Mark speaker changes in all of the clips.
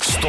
Speaker 1: Stå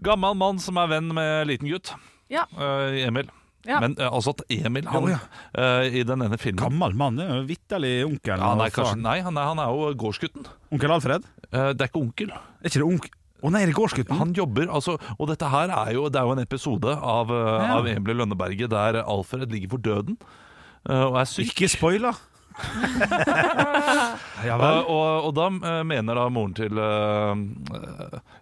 Speaker 2: Gammel mann som er venn med liten gutt.
Speaker 3: Ja.
Speaker 2: Eh, Emil.
Speaker 3: Ja.
Speaker 2: Men eh, altså at Emil, han
Speaker 4: Ja,
Speaker 2: eh, i den ene filmen
Speaker 4: Gammel mann, det er jo vitterlig onkelen
Speaker 2: ja,
Speaker 4: og
Speaker 2: nei, kanskje,
Speaker 4: faren.
Speaker 2: nei, han er, han er jo gårdsgutten.
Speaker 4: Onkel Alfred?
Speaker 2: Eh, det er ikke onkel.
Speaker 4: Er ikke det onkel? Å nei, er det gårdsgutten?
Speaker 2: Han jobber, altså, og dette her er jo, det er jo en episode av, eh,
Speaker 4: Ja.
Speaker 2: av Emil i Lønneberget der Alfred ligger for døden eh, og er syk.
Speaker 4: Ikke spoiler Ja
Speaker 2: Eh, og, og da eh, mener da moren til eh,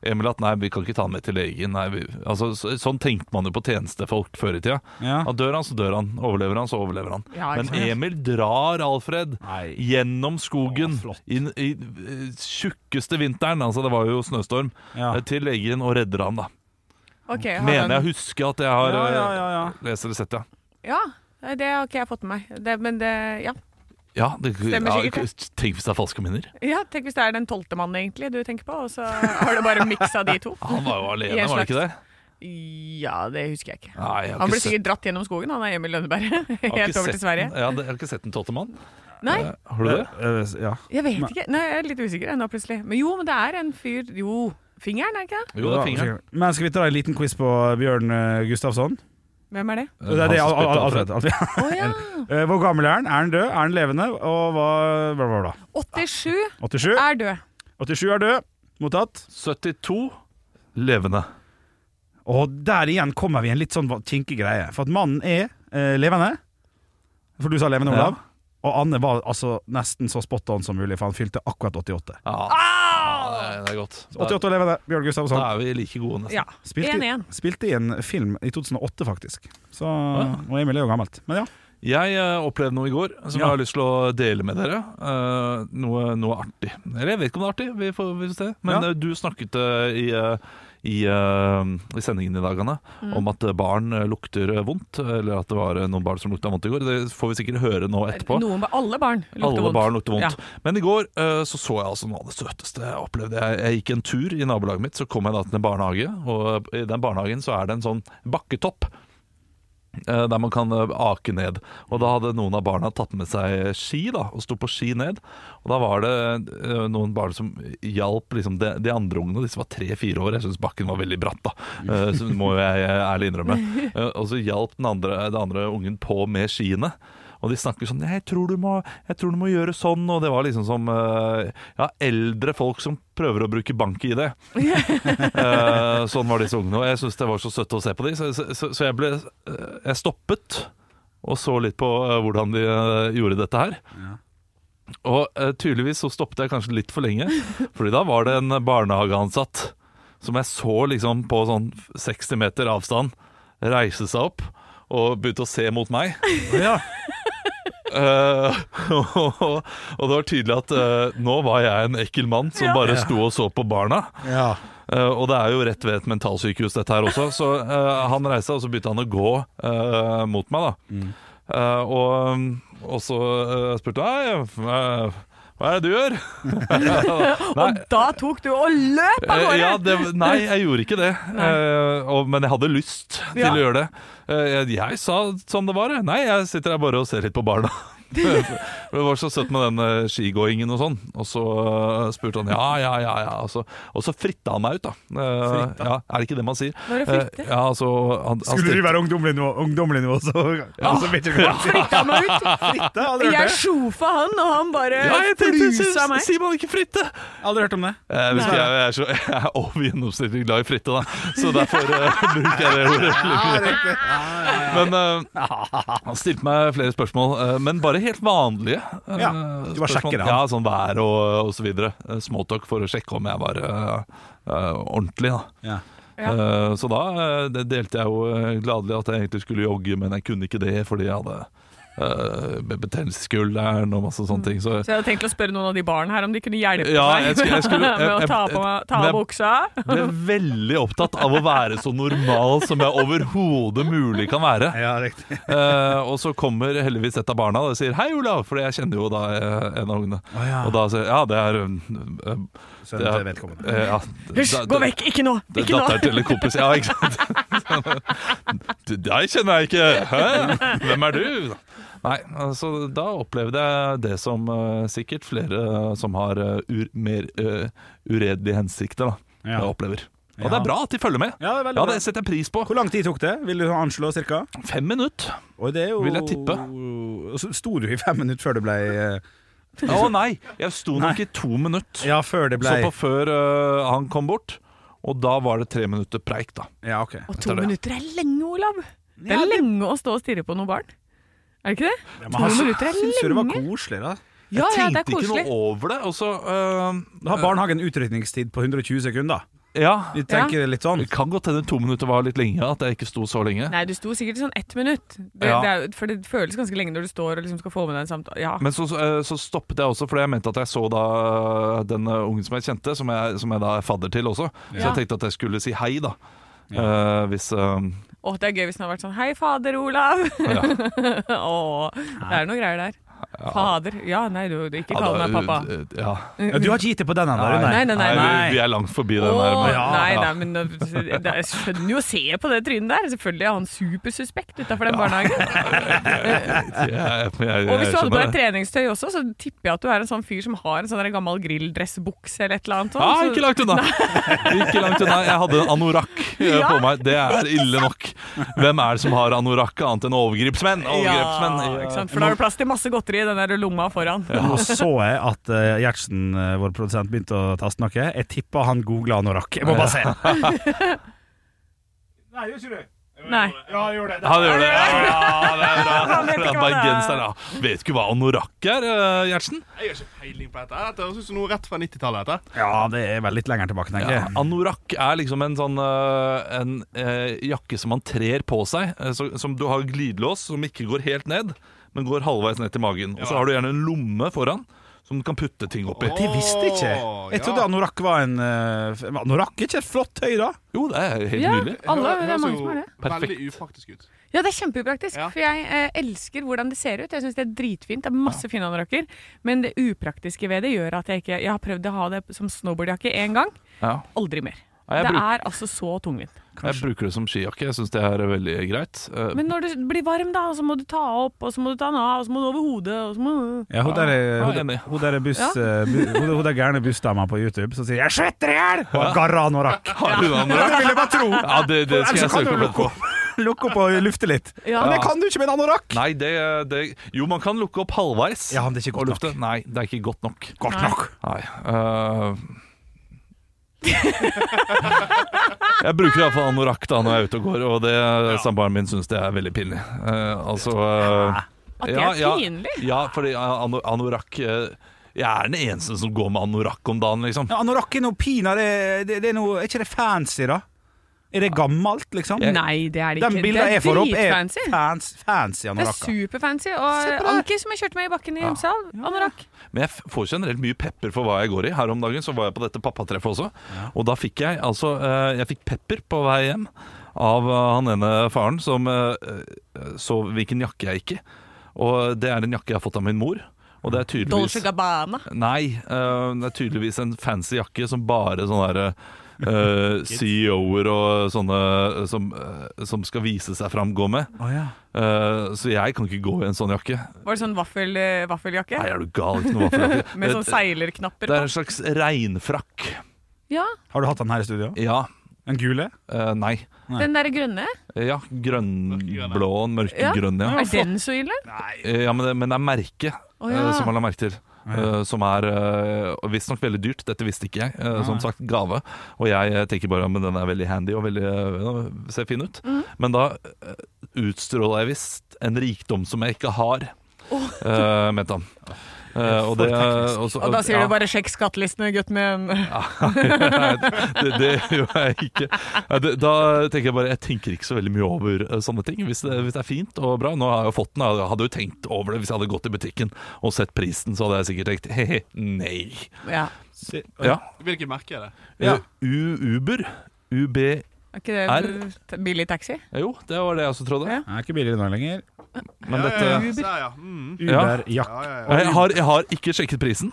Speaker 2: Emil at nei, vi kan ikke ta han med til legen. Nei, vi, altså, så, sånn tenkte man jo på tjenestefolk før i tida.
Speaker 4: Ja.
Speaker 2: Ja, dør han, så dør han. Overlever han, så overlever han.
Speaker 3: Ja, ikke
Speaker 2: Men
Speaker 3: sant?
Speaker 2: Emil drar Alfred
Speaker 4: Nei.
Speaker 2: gjennom skogen
Speaker 4: Å, flott.
Speaker 2: inn i eh, tjukkeste vinteren, altså det var jo snøstorm,
Speaker 4: Ja.
Speaker 2: eh, til legen og redder han, da.
Speaker 3: Ok, har
Speaker 2: Mener
Speaker 3: han-
Speaker 2: jeg husker at jeg har
Speaker 4: Ja, ja,
Speaker 2: eh,
Speaker 4: ja, ja.
Speaker 2: lest eller sett, ja.
Speaker 3: Ja, det har ikke jeg fått med meg. Det, men det, ja.
Speaker 2: Ja, det,
Speaker 3: Stemmer
Speaker 2: ja,
Speaker 3: sikkert,
Speaker 2: Tenk hvis det er falske minner.
Speaker 3: ja, tenk hvis det er den tolvte mannen egentlig du tenker på, og så har du bare miksa de to.
Speaker 2: Han var
Speaker 3: I
Speaker 2: jo alene,
Speaker 3: en
Speaker 2: var han ikke det?
Speaker 3: slags- Ja, det husker jeg ikke.
Speaker 2: Nei, jeg har
Speaker 3: Han ble
Speaker 2: ikke sett-
Speaker 3: sikkert dratt gjennom skogen, han er Emil Lønneberg.
Speaker 2: jeg har ikke
Speaker 3: Helt over til
Speaker 2: sett
Speaker 3: Sverige.
Speaker 2: den- Ja, det- jeg har ikke sett Den tolvte mann.
Speaker 3: Nei,
Speaker 2: Eh, Har du det?
Speaker 4: Eh, eh, Ja
Speaker 3: jeg vet
Speaker 4: Men-
Speaker 3: ikke. Nei, jeg er litt usikker nå plutselig. Men jo, men det er en fyr Jo, fingeren, er det ikke det?
Speaker 2: Jo, det er fingeren.
Speaker 4: Men skal vi ta en liten quiz på Bjørn eh, Gustafsson?
Speaker 3: Hvem er det?
Speaker 4: Det er det,
Speaker 2: Han som
Speaker 4: Al- Al- Alfred.
Speaker 2: spilte
Speaker 4: Alfred.
Speaker 3: Å ja!
Speaker 4: Eh, Hvor gammel er han? Er han død? Er han levende? Og hva bla, bla, bla.
Speaker 3: 87
Speaker 4: 87?
Speaker 3: er død.
Speaker 4: 87 er død. Mottatt.
Speaker 2: 72 levende.
Speaker 4: Og der igjen kommer vi i en litt sånn kinkig greie. For at mannen er eh, levende. For du sa levende,
Speaker 2: Ja.
Speaker 4: Olav. Og Anne var altså nesten så spot on som mulig, for han fylte akkurat 88.
Speaker 2: Ja, ja det, er, det er godt. Da,
Speaker 4: 88 og levende. Bjørn
Speaker 2: da
Speaker 4: Gustavsson.
Speaker 2: er vi like gode, nesten.
Speaker 3: Ja.
Speaker 4: Spilte,
Speaker 3: 1-1.
Speaker 4: spilte i en film i 2008, faktisk. Så,
Speaker 2: ja.
Speaker 4: og Emil er jo gammelt. Men ja.
Speaker 2: Jeg eh, opplevde noe i går som
Speaker 4: Ja.
Speaker 2: jeg har lyst til å dele med dere. Eh, noe, noe artig. Eller jeg vet ikke om det er artig, vi får vi får se. Men
Speaker 4: Ja.
Speaker 2: eh, du snakket eh, i, eh, i, eh, i sendingen i dag, Anne,
Speaker 3: Mm.
Speaker 2: om at eh, barn eh, lukter eh, vondt. Eller at det var eh, noen barn som lukta vondt i går. Det får vi sikkert høre nå etterpå.
Speaker 3: Noen, alle barn lukter
Speaker 2: Alle
Speaker 3: vondt.
Speaker 2: barn lukter vondt.
Speaker 3: Ja.
Speaker 2: Men i går eh, så så jeg altså noe av det søteste jeg opplevde. Jeg, jeg gikk en tur i nabolaget mitt, så kom jeg da til en barnehage. Og eh, i den barnehagen så er det en sånn bakketopp. eh, Der man kan eh, ake ned. Og da hadde noen av barna tatt med seg ski da og sto på ski ned. Og da var det eh, noen barn som hjalp liksom, de, de andre ungene. Disse var tre-fire år. Jeg syns bakken var veldig bratt, da. Eh, Så må jeg eh, ærlig innrømme. Eh, Og så hjalp den andre, den andre ungen på med skiene. Og de snakker sånn jeg tror, du må, 'Jeg tror du må gjøre sånn', og det var liksom som eh, Ja, eldre folk som prøver å bruke bank-ID. Eh, sånn var disse ungene. Og jeg syns det var så søtt å se på dem, så, så, så, så jeg ble eh, Jeg stoppet og så litt på eh, hvordan de eh, gjorde dette her. Og eh, tydeligvis så stoppet jeg kanskje litt for lenge, Fordi da var det en barnehageansatt som jeg så liksom på sånn 60 meter avstand reise seg opp og begynte å se mot meg. Eh, og, og, og det var tydelig at eh, nå var jeg en ekkel mann som bare sto og så på barna. Eh, og det er jo rett ved et mentalsykehus dette her også, så eh, han reiste og så begynte han å gå eh, mot meg. da. Eh, og, og så eh, spurte han «Hei, eh, hva er det du gjør? Nei,
Speaker 3: Og da tok du og løp av
Speaker 2: eh,
Speaker 3: gårde!
Speaker 2: ja, det, nei, jeg gjorde ikke det, Eh, og, men jeg hadde lyst til
Speaker 3: Ja.
Speaker 2: å gjøre det. Eh, jeg, jeg sa som det var. jeg. Nei, jeg sitter her bare og ser litt på barna. det var så søtt med den eh, skigåingen og sånn. Og så eh, spurte han ja, ja, ja. ja. Og, så, og så fritta han meg ut, da. Eh, ja, er det ikke det man sier?
Speaker 3: Hva er det å fritte?
Speaker 2: Eh, ja, altså, han, han
Speaker 4: Skulle
Speaker 2: stilte-
Speaker 4: du være ungdommelig nå, ungdommelig nå så, ja. så vet du ikke hva
Speaker 3: Flytta meg ut.
Speaker 4: Fritte? Aldri hørt
Speaker 3: Jeg
Speaker 4: det.
Speaker 3: sjofa han, og han bare
Speaker 2: ja, jeg tenkte,
Speaker 3: flusa
Speaker 2: sier-
Speaker 3: meg.
Speaker 2: sier man ikke fritte?
Speaker 4: Aldri hørt om det.
Speaker 2: Jeg, vet ikke, jeg, jeg er så, jeg er over gjennomsnittlig glad i fritte, da. Så derfor eh, bruker jeg det ordet. litt mye. Men eh, han stilte meg flere spørsmål, eh, men bare helt vanlige. eh,
Speaker 4: Ja, du var
Speaker 2: spørsmål.
Speaker 4: sjekker, da.
Speaker 2: Ja, sånn vær og, og så videre. Eh, Småtalk for å sjekke om jeg var eh, eh, ordentlig, da.
Speaker 4: Ja.
Speaker 3: Ja.
Speaker 2: Eh, Så da eh, det delte jeg jo eh, gladelig at jeg egentlig skulle jogge, men jeg kunne ikke det fordi jeg hadde eh, be- betennelse i skulderen og masse sånne ting. Så
Speaker 3: Så jeg hadde tenkt å spørre noen av de barna her om de kunne hjelpe
Speaker 2: Ja,
Speaker 3: meg
Speaker 2: jeg skulle- jeg skulle-
Speaker 3: med å
Speaker 2: jeg-
Speaker 3: ta,
Speaker 2: jeg-
Speaker 3: på, meg- ta av
Speaker 2: men-
Speaker 3: buksa.
Speaker 2: jeg ble veldig opptatt av å være så normal som jeg overhodet mulig kan være.
Speaker 4: Ja, riktig.
Speaker 2: Eh, og så kommer heldigvis et av barna og sier 'hei, Olav', for jeg kjenner jo da eh, en av ungene.
Speaker 4: Å, ja.
Speaker 2: Og da sier jeg 'ja, det er eh,
Speaker 4: Sønnen
Speaker 2: Ja.
Speaker 4: til vedkommende.
Speaker 2: eh, ja,
Speaker 3: Hysj,
Speaker 2: da-
Speaker 3: gå vekk! Ikke nå!
Speaker 2: Det er
Speaker 3: Ikke nå!
Speaker 2: datteren til en kompis. Ja, ikke sant? Du, Deg kjenner jeg ikke! Hæ? Hvem er du? Nei, altså da opplevde jeg det som eh, sikkert flere eh, som har eh, ur, mer eh, uredelige hensikter, da,
Speaker 4: Ja.
Speaker 2: eh, opplever.
Speaker 4: Ja.
Speaker 2: Og det er bra at de følger med.
Speaker 4: Ja, det er veldig
Speaker 2: Ja,
Speaker 4: bra.
Speaker 2: det setter jeg pris på.
Speaker 4: Hvor lang tid tok det? Vil du anslå cirka?
Speaker 2: Fem minutter.
Speaker 4: Og det er jo
Speaker 2: Vil jeg tippe?
Speaker 4: Og så Sto du i fem minutter før det ble eh,
Speaker 2: Å nei, jeg sto nok i to minutter.
Speaker 4: Ja, før det
Speaker 2: Så
Speaker 4: ble
Speaker 2: på før eh, han kom bort. Og da var det tre minutter preik, da.
Speaker 4: Ja, ok.
Speaker 3: Og
Speaker 2: Etter
Speaker 3: to
Speaker 2: det.
Speaker 3: minutter er lenge, Olav. Det er lenge å stå og stirre på noen barn. Er det ikke det?
Speaker 4: Ja,
Speaker 3: to minutter er
Speaker 4: Syns jo det var
Speaker 3: lenge.
Speaker 4: koselig, da.
Speaker 3: Ja, ja,
Speaker 2: jeg
Speaker 3: det er
Speaker 2: tenkte ikke
Speaker 3: koselig.
Speaker 2: noe over det. Og så eh,
Speaker 4: Da har barnehagen utrykningstid på 120 sekunder.
Speaker 2: Ja.
Speaker 4: Vi tenker litt sånn.
Speaker 2: Det kan godt hende to minutter var litt lenge, at jeg ikke sto så lenge.
Speaker 3: Nei, du sto sikkert i sånn ett minutt. Det,
Speaker 2: Ja.
Speaker 3: det er, jo- for det føles ganske lenge når du står og liksom skal få med deg en samtale. Ja.
Speaker 2: Men så, eh, så stoppet jeg også, fordi jeg mente at jeg så da den eh, ungen som jeg kjente, som jeg, som jeg da er fadder til også. Så
Speaker 3: Ja.
Speaker 2: jeg tenkte at jeg skulle si hei, da. Eh, hvis eh,
Speaker 3: Å, det er gøy hvis den har vært sånn Hei, fader, Olav!
Speaker 2: ja.
Speaker 3: Å, det er noe greier der. Fader. Ja, nei, du, du ikke kall meg pappa.
Speaker 2: eh, Ja.
Speaker 4: Ja, du har ikke gitt det på den ennå,
Speaker 3: Nei,
Speaker 4: Rune?
Speaker 3: nei, nei.
Speaker 2: vi- Vi er langt forbi den
Speaker 3: Å,
Speaker 2: der. men-
Speaker 3: nei,
Speaker 2: Ja.
Speaker 3: nei, men uh, det, jeg skjønner jo å se på det trynet der. Selvfølgelig er han supersuspekt utafor den barnehagen.
Speaker 2: Jeg- jeg- jeg-
Speaker 3: Og hvis
Speaker 2: jeg
Speaker 3: du hadde på
Speaker 2: skjønner
Speaker 3: deg
Speaker 2: det.
Speaker 3: treningstøy også, så tipper jeg at du er en sånn fyr som har en sånn der gammel grilldressbukse eller et eller annet. sånn,
Speaker 2: Ja,
Speaker 3: så-
Speaker 2: Ah, ikke langt unna. Ikke langt unna. Jeg hadde en anorakk eh,
Speaker 3: Ja.
Speaker 2: på meg. Det er ille nok. Hvem er det som har anorakk annet enn overgripsmenn? Overgripsmenn.
Speaker 3: Ja,
Speaker 2: eh,
Speaker 3: ikke sant? For da har du plass til masse godteri i den der lomma foran.
Speaker 4: Nå så jeg at eh, Gjertsen, eh, vår produsent, begynte å taste noe. Jeg tippa han googla anorakk. Jeg må bare se. Nei, gjør ikke du?
Speaker 3: Nei.
Speaker 4: Ja, jeg gjorde
Speaker 2: Han gjør det. Ja, ja, det er bra.
Speaker 3: Han vet ikke hva det er.
Speaker 2: Bergenser, ja. Vet ikke hva anorakk er, eh, Gjertsen?
Speaker 5: Jeg har ikke peiling på dette. Dette høres ut som noe rett fra 90-tallet. dette.
Speaker 4: Ja, det er vel litt lenger tilbake, tenker
Speaker 2: Ja,
Speaker 4: jeg.
Speaker 2: anorakk er liksom en sånn eh, en, eh, jakke som man trer på seg, eh, så, som du har glidelås som ikke går helt ned, men går halvveis ned til magen. Og så har du gjerne en lomme foran som du kan putte ting oppi.
Speaker 4: Det visste jeg ikke. Jeg trodde anorakk var en eh, Anorakk er ikke et flott tøy, da?
Speaker 2: Jo, det er helt
Speaker 3: Ja,
Speaker 2: nydelig.
Speaker 3: alle,
Speaker 5: Hø-
Speaker 3: det er
Speaker 5: høres
Speaker 3: mange
Speaker 5: jo
Speaker 3: som har det.
Speaker 5: Veldig upraktisk ut.
Speaker 3: Ja, det er kjempeupraktisk,
Speaker 5: Ja.
Speaker 3: for jeg eh, elsker hvordan det ser ut. Jeg syns det er dritfint. Det er masse fine anorakker. Men det upraktiske ved det gjør at jeg ikke Jeg har prøvd å ha det som snowboardjakke én gang.
Speaker 2: Ja.
Speaker 3: Aldri mer.
Speaker 2: Ja, Jeg,
Speaker 3: det
Speaker 2: bruker,
Speaker 3: er altså så tungvint.
Speaker 2: jeg bruker det som skijakke. Jeg syns det er veldig greit. Eh,
Speaker 3: Men når du blir varm, da, og så må du ta opp, og så må du ta den av, og så må du over hodet, og så må du
Speaker 4: Ja, hun der,
Speaker 2: Ja,
Speaker 4: hun,
Speaker 2: jeg er enig.
Speaker 4: hun der, er buss,
Speaker 3: Ja.
Speaker 4: eh, bu, hun, hun der gærne bussdama på YouTube som sier 'jeg svetter i hjel' og har garra anorakk.
Speaker 2: Har du
Speaker 4: Ja,
Speaker 2: anorakk?
Speaker 4: Det vil jeg bare tro.
Speaker 2: Ja, det, det skal jeg
Speaker 4: Ellers så kan
Speaker 2: søke
Speaker 4: du lukke
Speaker 2: opp etterpå.
Speaker 4: opp, lukke opp og lufte litt.
Speaker 3: Ja.
Speaker 4: Men det kan du ikke med en anorakk.
Speaker 2: Nei, det, det Jo, man kan lukke opp halvveis.
Speaker 4: Ja, men det er ikke
Speaker 2: og
Speaker 4: godt
Speaker 2: lufte. Nei, det er ikke godt nok.
Speaker 4: Godt nok.
Speaker 2: Nei. øh. jeg bruker iallfall anorakk da når jeg er ute og går, og det samboeren min syns det er veldig pinlig. Eh, altså øh,
Speaker 3: At det
Speaker 2: ja,
Speaker 3: er
Speaker 2: ja.
Speaker 3: pinlig!
Speaker 2: Ja, fordi ano anorakk eh, Jeg er den eneste som går med anorakk om dagen, liksom.
Speaker 4: Ja, anorakk er noe pinadø det, det er, noe, er ikke det fancy, da? Er det gammalt, liksom?
Speaker 2: Jeg-
Speaker 3: Nei, det er det
Speaker 4: De
Speaker 3: ikke. Det
Speaker 4: bildene
Speaker 3: er
Speaker 4: jeg får opp, er
Speaker 3: dritfancy.
Speaker 4: fans, fancy
Speaker 3: Det er
Speaker 4: anorakker.
Speaker 3: superfancy.
Speaker 4: Se på
Speaker 3: Og
Speaker 4: det.
Speaker 3: Anki, som jeg kjørte med i bakken i Imsal, anorakk.
Speaker 2: Men jeg f- får generelt mye pepper for hva jeg går i. Her om dagen så var jeg på dette pappatreffet også, og da fikk jeg altså eh, Jeg fikk pepper på vei hjem av eh, han ene faren som eh, eh, så hvilken jakke jeg gikk i. Og det er en jakke jeg har fått av min mor, og det er tydeligvis
Speaker 3: Dolce Gabbana.
Speaker 2: Nei, eh, det er tydeligvis en fancy jakke som bare sånne der eh, CEO-er og sånne som, eh, som skal vise seg fram, går med.
Speaker 4: Å, ja.
Speaker 2: Eh, så jeg kan ikke gå i en sånn jakke.
Speaker 3: Var det sånn vaffel, eh, vaffeljakke?
Speaker 2: Nei, er du gal? Ikke noe vaffeljakke.
Speaker 3: Med sånn
Speaker 2: Det-
Speaker 3: seilerknapper
Speaker 2: det er
Speaker 3: på?
Speaker 2: en slags regnfrakk.
Speaker 3: Ja,
Speaker 4: Har du hatt den her i studio?
Speaker 2: Ja.
Speaker 4: Den gule?
Speaker 2: eh, nei.
Speaker 4: Nei.
Speaker 3: den derre grønne.
Speaker 2: Ja,
Speaker 5: Mørkegrønne.
Speaker 2: grønnblå og mørkegrønn, ja.
Speaker 3: Er den så ille?
Speaker 2: Eh, ja men, det, men det er merket
Speaker 3: Å, ja.
Speaker 2: eh, som man la merke til. eh, som er uh, visstnok veldig dyrt. Dette visste ikke jeg. eh, som sagt, gave. Og jeg eh, tenker bare at den er veldig handy og veldig, eh, ser fin ut. Men da eh, utstråler jeg visst en rikdom som jeg ikke har, eh, mente han. Eh, og, det, og, så-
Speaker 3: Og da sier
Speaker 2: ja.
Speaker 3: du bare 'sjekk skattelistene, gutt min'.
Speaker 2: Nei, det, det gjør jeg ikke. Nei, det- Da tenker jeg bare Jeg tenker ikke så veldig mye over eh, sånne ting. Hvis det, hvis det er fint og bra. Nå har jeg jo fått den, jeg hadde jo tenkt over det hvis jeg hadde gått i butikken og sett prisen, så hadde jeg sikkert tenkt he-he, nei.
Speaker 3: Ja.
Speaker 2: Ja.
Speaker 5: Hvilket merke er det?
Speaker 2: Eh, U Uber. UB
Speaker 3: Er ikke det
Speaker 2: Er-
Speaker 3: t- billig taxi?
Speaker 2: Jo, det var det jeg også trodde.
Speaker 3: Ja.
Speaker 4: Det er ikke billigere nå lenger.
Speaker 2: Men
Speaker 5: ja, ja,
Speaker 2: dette
Speaker 5: ja. Der, ja. Mm.
Speaker 4: Uber, ja.
Speaker 5: Ja, ja, ja.
Speaker 2: jeg har, jeg har ikke sjekket prisen.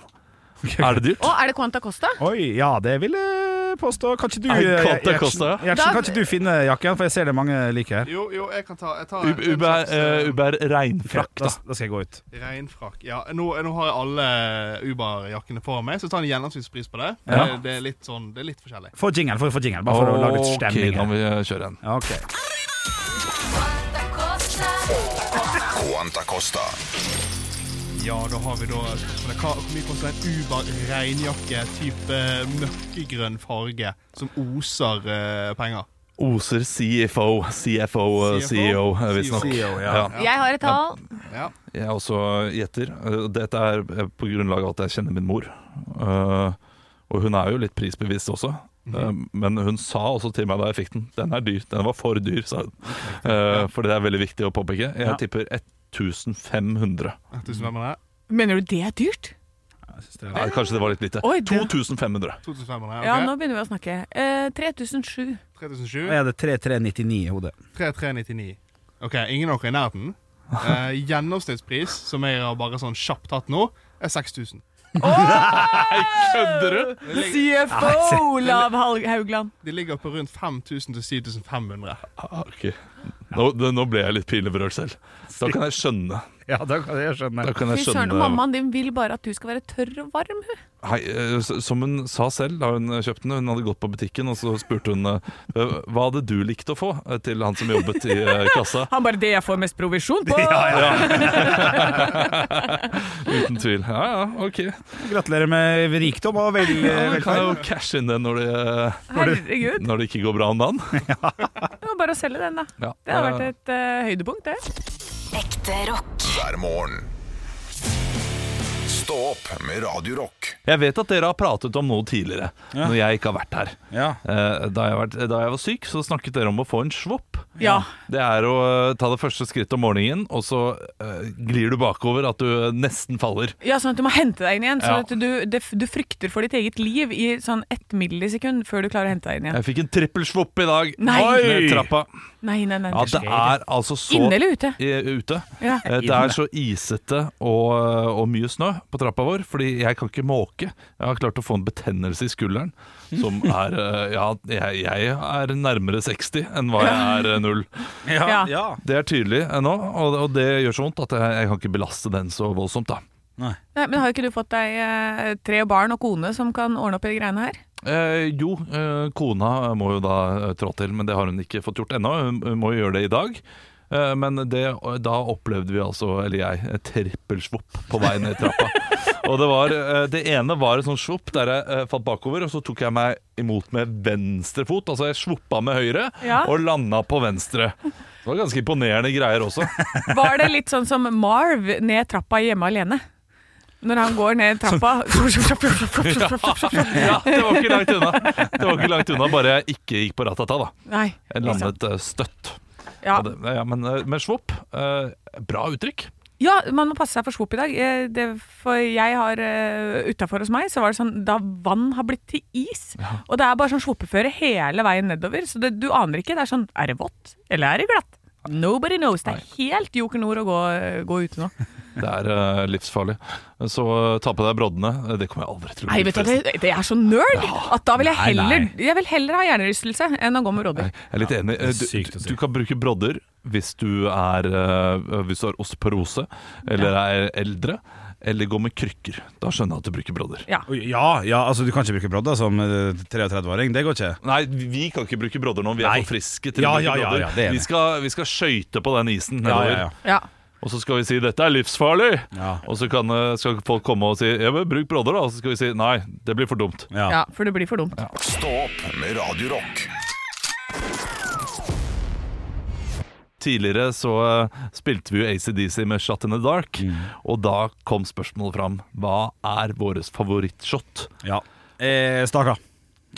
Speaker 2: Er det dyrt?
Speaker 3: Å, er det Quanta Costa?
Speaker 4: Oi, ja, det vil jeg påstå. Kan ikke du
Speaker 2: Nei,
Speaker 4: eh,
Speaker 2: Quanta
Speaker 4: Gjertsen-
Speaker 2: Costa, ja.
Speaker 4: Gjertsen, kan ikke du finne jakken, for jeg ser det er mange like her.
Speaker 5: Jo, jo, jeg kan ta jeg tar en-
Speaker 2: U-
Speaker 5: en
Speaker 2: Uber,
Speaker 5: slags,
Speaker 2: eh,
Speaker 5: eh,
Speaker 2: Uber
Speaker 4: Ok,
Speaker 2: regnfrakk,
Speaker 4: da,
Speaker 2: da.
Speaker 4: da skal jeg gå ut.
Speaker 5: Regnfrakk. Ja, nå, nå har jeg alle eh, Uber-jakkene foran meg, så ta en gjennomsnittspris på det.
Speaker 2: Ja.
Speaker 5: Det, det er litt sånn, det er litt forskjellig.
Speaker 4: Få jingle, få, få jingle, bare for å lage litt
Speaker 2: Ok,
Speaker 4: stemning.
Speaker 2: da
Speaker 4: her.
Speaker 2: må vi kjøre en.
Speaker 4: Ok.
Speaker 1: Quanta Costa.
Speaker 5: Ja, da har vi da spørsmålet. Hva, Hvor mye koster en Uber-regnjakke type eh, mørkegrønn farge som oser eh, penger?
Speaker 2: Oser CFO, CFO, eh, CEO, eh, visstnok.
Speaker 3: E
Speaker 4: CEO, ja.
Speaker 2: Ja.
Speaker 3: Jeg har et tall.
Speaker 5: Ja.
Speaker 2: Jeg også gjetter. Eh, Dette er eh, på grunnlag av at jeg kjenner min mor. Eh, Og hun er jo litt prisbevisst også. Eh,
Speaker 3: Mhm.
Speaker 2: Men hun sa også til meg da jeg fikk den Den er dyr, den var for dyr, sa hun. Eh, For det er veldig viktig å påpeke. Jeg
Speaker 4: Ja.
Speaker 2: tipper 1500.
Speaker 5: Tusen venner her.
Speaker 3: Mener du det er dyrt?
Speaker 4: Jeg synes det er-
Speaker 2: Nei, kanskje det var litt lite.
Speaker 3: Oi, det-
Speaker 2: 2500.
Speaker 5: 2500
Speaker 3: Ja,
Speaker 5: her.
Speaker 3: nå begynner vi å snakke. Eh, 3007.
Speaker 5: 3007.
Speaker 4: Jeg hadde 3399 i hodet.
Speaker 5: 3399. OK, ingen av dere er i nærheten. Eh, gjennomsnittspris, som jeg har bare sånn kjapt tatt nå, er 6000.
Speaker 2: Kødder du?!
Speaker 3: CFO Olav Hal- Haugland.
Speaker 5: De ligger på rundt 5000 til 7500.
Speaker 2: Ah, ok. Nå, det- nå ble jeg litt pinlig berørt selv. Da kan jeg skjønne.
Speaker 4: Ja, da kan jeg skjønne.
Speaker 2: Da kan
Speaker 3: Fy
Speaker 2: jeg
Speaker 3: søren,
Speaker 2: skjønne
Speaker 3: mammaen din vil bare at du skal være tørr og varm, hun.
Speaker 2: Hei, eh, s- som hun sa selv da hun kjøpte den, hun hadde gått på butikken og så spurte hun eh, hva hadde du likt å få eh, til han som jobbet i eh, kassa.
Speaker 3: Han bare 'det jeg får mest provisjon på'.
Speaker 2: Uten tvil. Ja, ja, ok.
Speaker 4: Gratulerer med rikdom og vel,
Speaker 2: Da kan jeg
Speaker 4: velferd.
Speaker 2: jo cashe inn det når det, eh,
Speaker 3: Herregud.
Speaker 2: når det ikke går bra om dagen.
Speaker 3: Det var bare å selge den, da.
Speaker 2: Ja.
Speaker 3: Det har vært et eh, høydepunkt, det.
Speaker 6: Ekte rock.
Speaker 1: Hver morgen. Stå opp med Radio Rock.
Speaker 2: Eh, Jeg vet at dere har pratet om noe tidligere,
Speaker 4: Ja.
Speaker 2: når jeg ikke har vært her.
Speaker 4: Ja.
Speaker 2: Eh, Da jeg, vært, da jeg var syk, så snakket dere om å få en svopp.
Speaker 3: Ja.
Speaker 2: Det er å eh, ta det første skrittet om morgenen, og så eh, glir du bakover at du eh, nesten faller.
Speaker 3: Ja, sånn at du må hente deg inn igjen.
Speaker 2: Ja.
Speaker 3: Sånn at du, det, du frykter for ditt eget liv i sånn ett millisekund før du klarer å hente deg inn igjen.
Speaker 2: Jeg fikk en trippelsvopp i dag.
Speaker 3: Nei!
Speaker 2: Ned trappa.
Speaker 3: Nei, nei, nei.
Speaker 2: Ja, det er altså så
Speaker 3: Inne eller ute?
Speaker 2: Eh, Ute.
Speaker 3: Ja.
Speaker 2: Eh, Det er så isete og, og mye snø på trappa vår, fordi jeg kan ikke måke. Jeg har klart å få en betennelse i skulderen som er eh, Ja, jeg, jeg er nærmere 60 enn hva jeg er eh, null.
Speaker 4: Ja.
Speaker 3: Ja.
Speaker 4: ja.
Speaker 2: Det er tydelig ennå, og, og det gjør så vondt at jeg, jeg kan ikke belaste den så voldsomt, da.
Speaker 3: Nei, men har ikke du fått deg eh, tre barn og kone som kan ordne opp i de greiene her?
Speaker 2: Eh, jo, eh, kona må jo da eh, trå til, men det har hun ikke fått gjort ennå. Hun, hun må jo gjøre det i dag. Eh, men det, da opplevde vi altså, eller jeg, et trippelsvopp på vei ned trappa. og det, var, eh, det ene var et sånt svopp der jeg eh, falt bakover, og så tok jeg meg imot med venstre fot. Altså jeg svoppa med høyre
Speaker 3: Ja.
Speaker 2: og landa på venstre. Det var ganske imponerende greier også.
Speaker 3: Var det litt sånn som Marv ned trappa hjemme alene? Når han går ned trappa
Speaker 2: ja, det var ikke langt unna. Det var ikke langt unna, bare jeg ikke gikk på ratata, da.
Speaker 3: Nei.
Speaker 2: Jeg landet eh, støtt.
Speaker 3: Ja.
Speaker 2: Ja, det, ja, men, men svopp, eh, bra uttrykk.
Speaker 3: ja, man må passe seg for svopp i dag. Eh, Det, for jeg har eh, Utafor hos meg så var det sånn da vann har blitt til is. Og det er bare sånn svoppeføre hele veien nedover. Så det, du aner ikke. Det er sånn Er det vått, eller er det glatt? Nobody knows. Det er helt joker nord å gå, eh, gå ute nå.
Speaker 2: Det er eh, livsfarlig. Så eh, ta på deg broddene. Eh, Det kommer jeg aldri til å
Speaker 3: Nei, vet du, hva, det, det er så nerd at da vil jeg
Speaker 4: Nei, nei.
Speaker 3: heller, jeg vil heller ha hjernerystelse enn å gå med
Speaker 2: Nei,
Speaker 3: rådyr.
Speaker 2: Jeg er litt enig. Eh,
Speaker 4: det er sykt
Speaker 2: Du,
Speaker 4: å si.
Speaker 2: du kan bruke brodder hvis du, er, eh, hvis du har osteoporose eller er eldre, eller går med krykker. Da skjønner jeg at du bruker brodder.
Speaker 3: Ja.
Speaker 4: Oi, ja, ja, altså du kan ikke bruke brodder som eh, 33-åring. Det går ikke.
Speaker 2: Nei, vi kan ikke bruke brodder nå. Vi er
Speaker 4: Nei.
Speaker 2: for friske til
Speaker 4: Ja,
Speaker 2: å bruke
Speaker 4: ja, ja,
Speaker 2: brodder.
Speaker 4: ja, det er enig.
Speaker 2: vi, skal, vi skal skøyte på den isen
Speaker 4: Ja,
Speaker 2: nedover.
Speaker 4: ja, ja.
Speaker 3: Ja.
Speaker 2: Og så skal vi si 'dette er livsfarlig'.
Speaker 4: Ja.
Speaker 2: Og så kan, eh, skal folk komme og si ja, men 'bruk brodder', da. Og så skal vi si 'nei, det blir for dumt'.
Speaker 4: Ja.
Speaker 3: ja, for det blir for dumt.
Speaker 1: Stå opp med Radio Rock.
Speaker 2: tidligere så eh, spilte vi jo ACDC med Shot in the Dark, og da kom spørsmålet fram. Hva er våres favorittshot?
Speaker 4: Ja. Eh, Staka.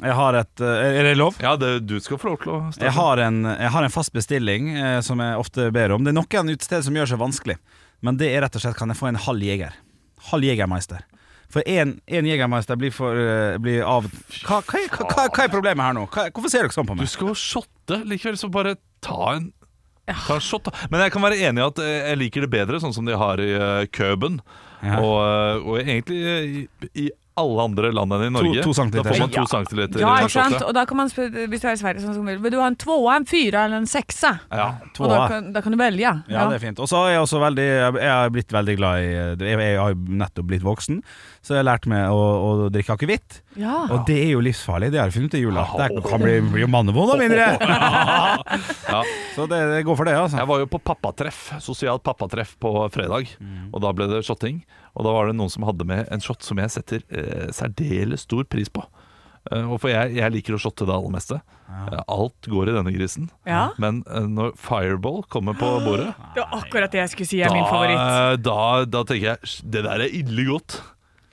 Speaker 4: Jeg har et eh, Er det lov?
Speaker 2: Ja, det, du skal få lov til å
Speaker 4: Jeg har en, jeg har en fast bestilling eh, som jeg ofte ber om. Det er noen utesteder som gjør seg vanskelig, men det er rett og slett kan jeg få en halv jeger. Halv jegermeister. For én jegermeister blir, for, eh, blir av hva, hva, er- hva, hva, hva er problemet her nå? Hva, hvorfor ser dere sånn på
Speaker 2: Du
Speaker 4: meg?
Speaker 2: skal jo shotte likevel, så bare ta en Ta en shot, da. Men jeg kan være enig i at eh, jeg liker det bedre, sånn som de har i eh, Køben.
Speaker 4: Ja.
Speaker 2: Og, eh, og egentlig eh, i, i alle andre land enn i Norge.
Speaker 4: to centiliter.
Speaker 2: Da får man
Speaker 3: Ja.
Speaker 2: to centiliter.
Speaker 3: Ja,
Speaker 2: i
Speaker 3: ikke sant?
Speaker 2: shotet.
Speaker 3: Og da kan man spørre, hvis du er i Sverige, sånn som du vil, vil du ha en tvåa, en fyra eller en seksa?
Speaker 2: Ja.
Speaker 3: Og da
Speaker 4: Tvåa.
Speaker 3: kan, da kan du velge.
Speaker 4: Ja, det er fint. Og så er jeg også veldig Jeg har blitt veldig glad i Jeg jeg har jo nettopp blitt voksen, så jeg har lært meg å, å drikke akevitt.
Speaker 3: Ja.
Speaker 4: Og det er jo livsfarlig, det har jeg funnet ut i jula.
Speaker 2: Ja.
Speaker 4: Det er- kan bli, bli jo mannevond av mindre!
Speaker 2: Ja.
Speaker 4: Så det, det går for det, altså.
Speaker 2: Jeg var jo på pappatreff, sosialt pappatreff på fredag, og da ble det shotting. Og da var det noen som hadde med en shot som jeg setter eh, særdeles stor pris på. Eh, og for jeg, jeg liker å shotte det aller meste. Eh, alt går i denne grisen.
Speaker 3: Ja.
Speaker 2: Men eh, når Fireball kommer på bordet,
Speaker 3: Det var akkurat det jeg skulle si er
Speaker 2: da,
Speaker 3: min favoritt.
Speaker 2: da, da tenker jeg det der er ille godt.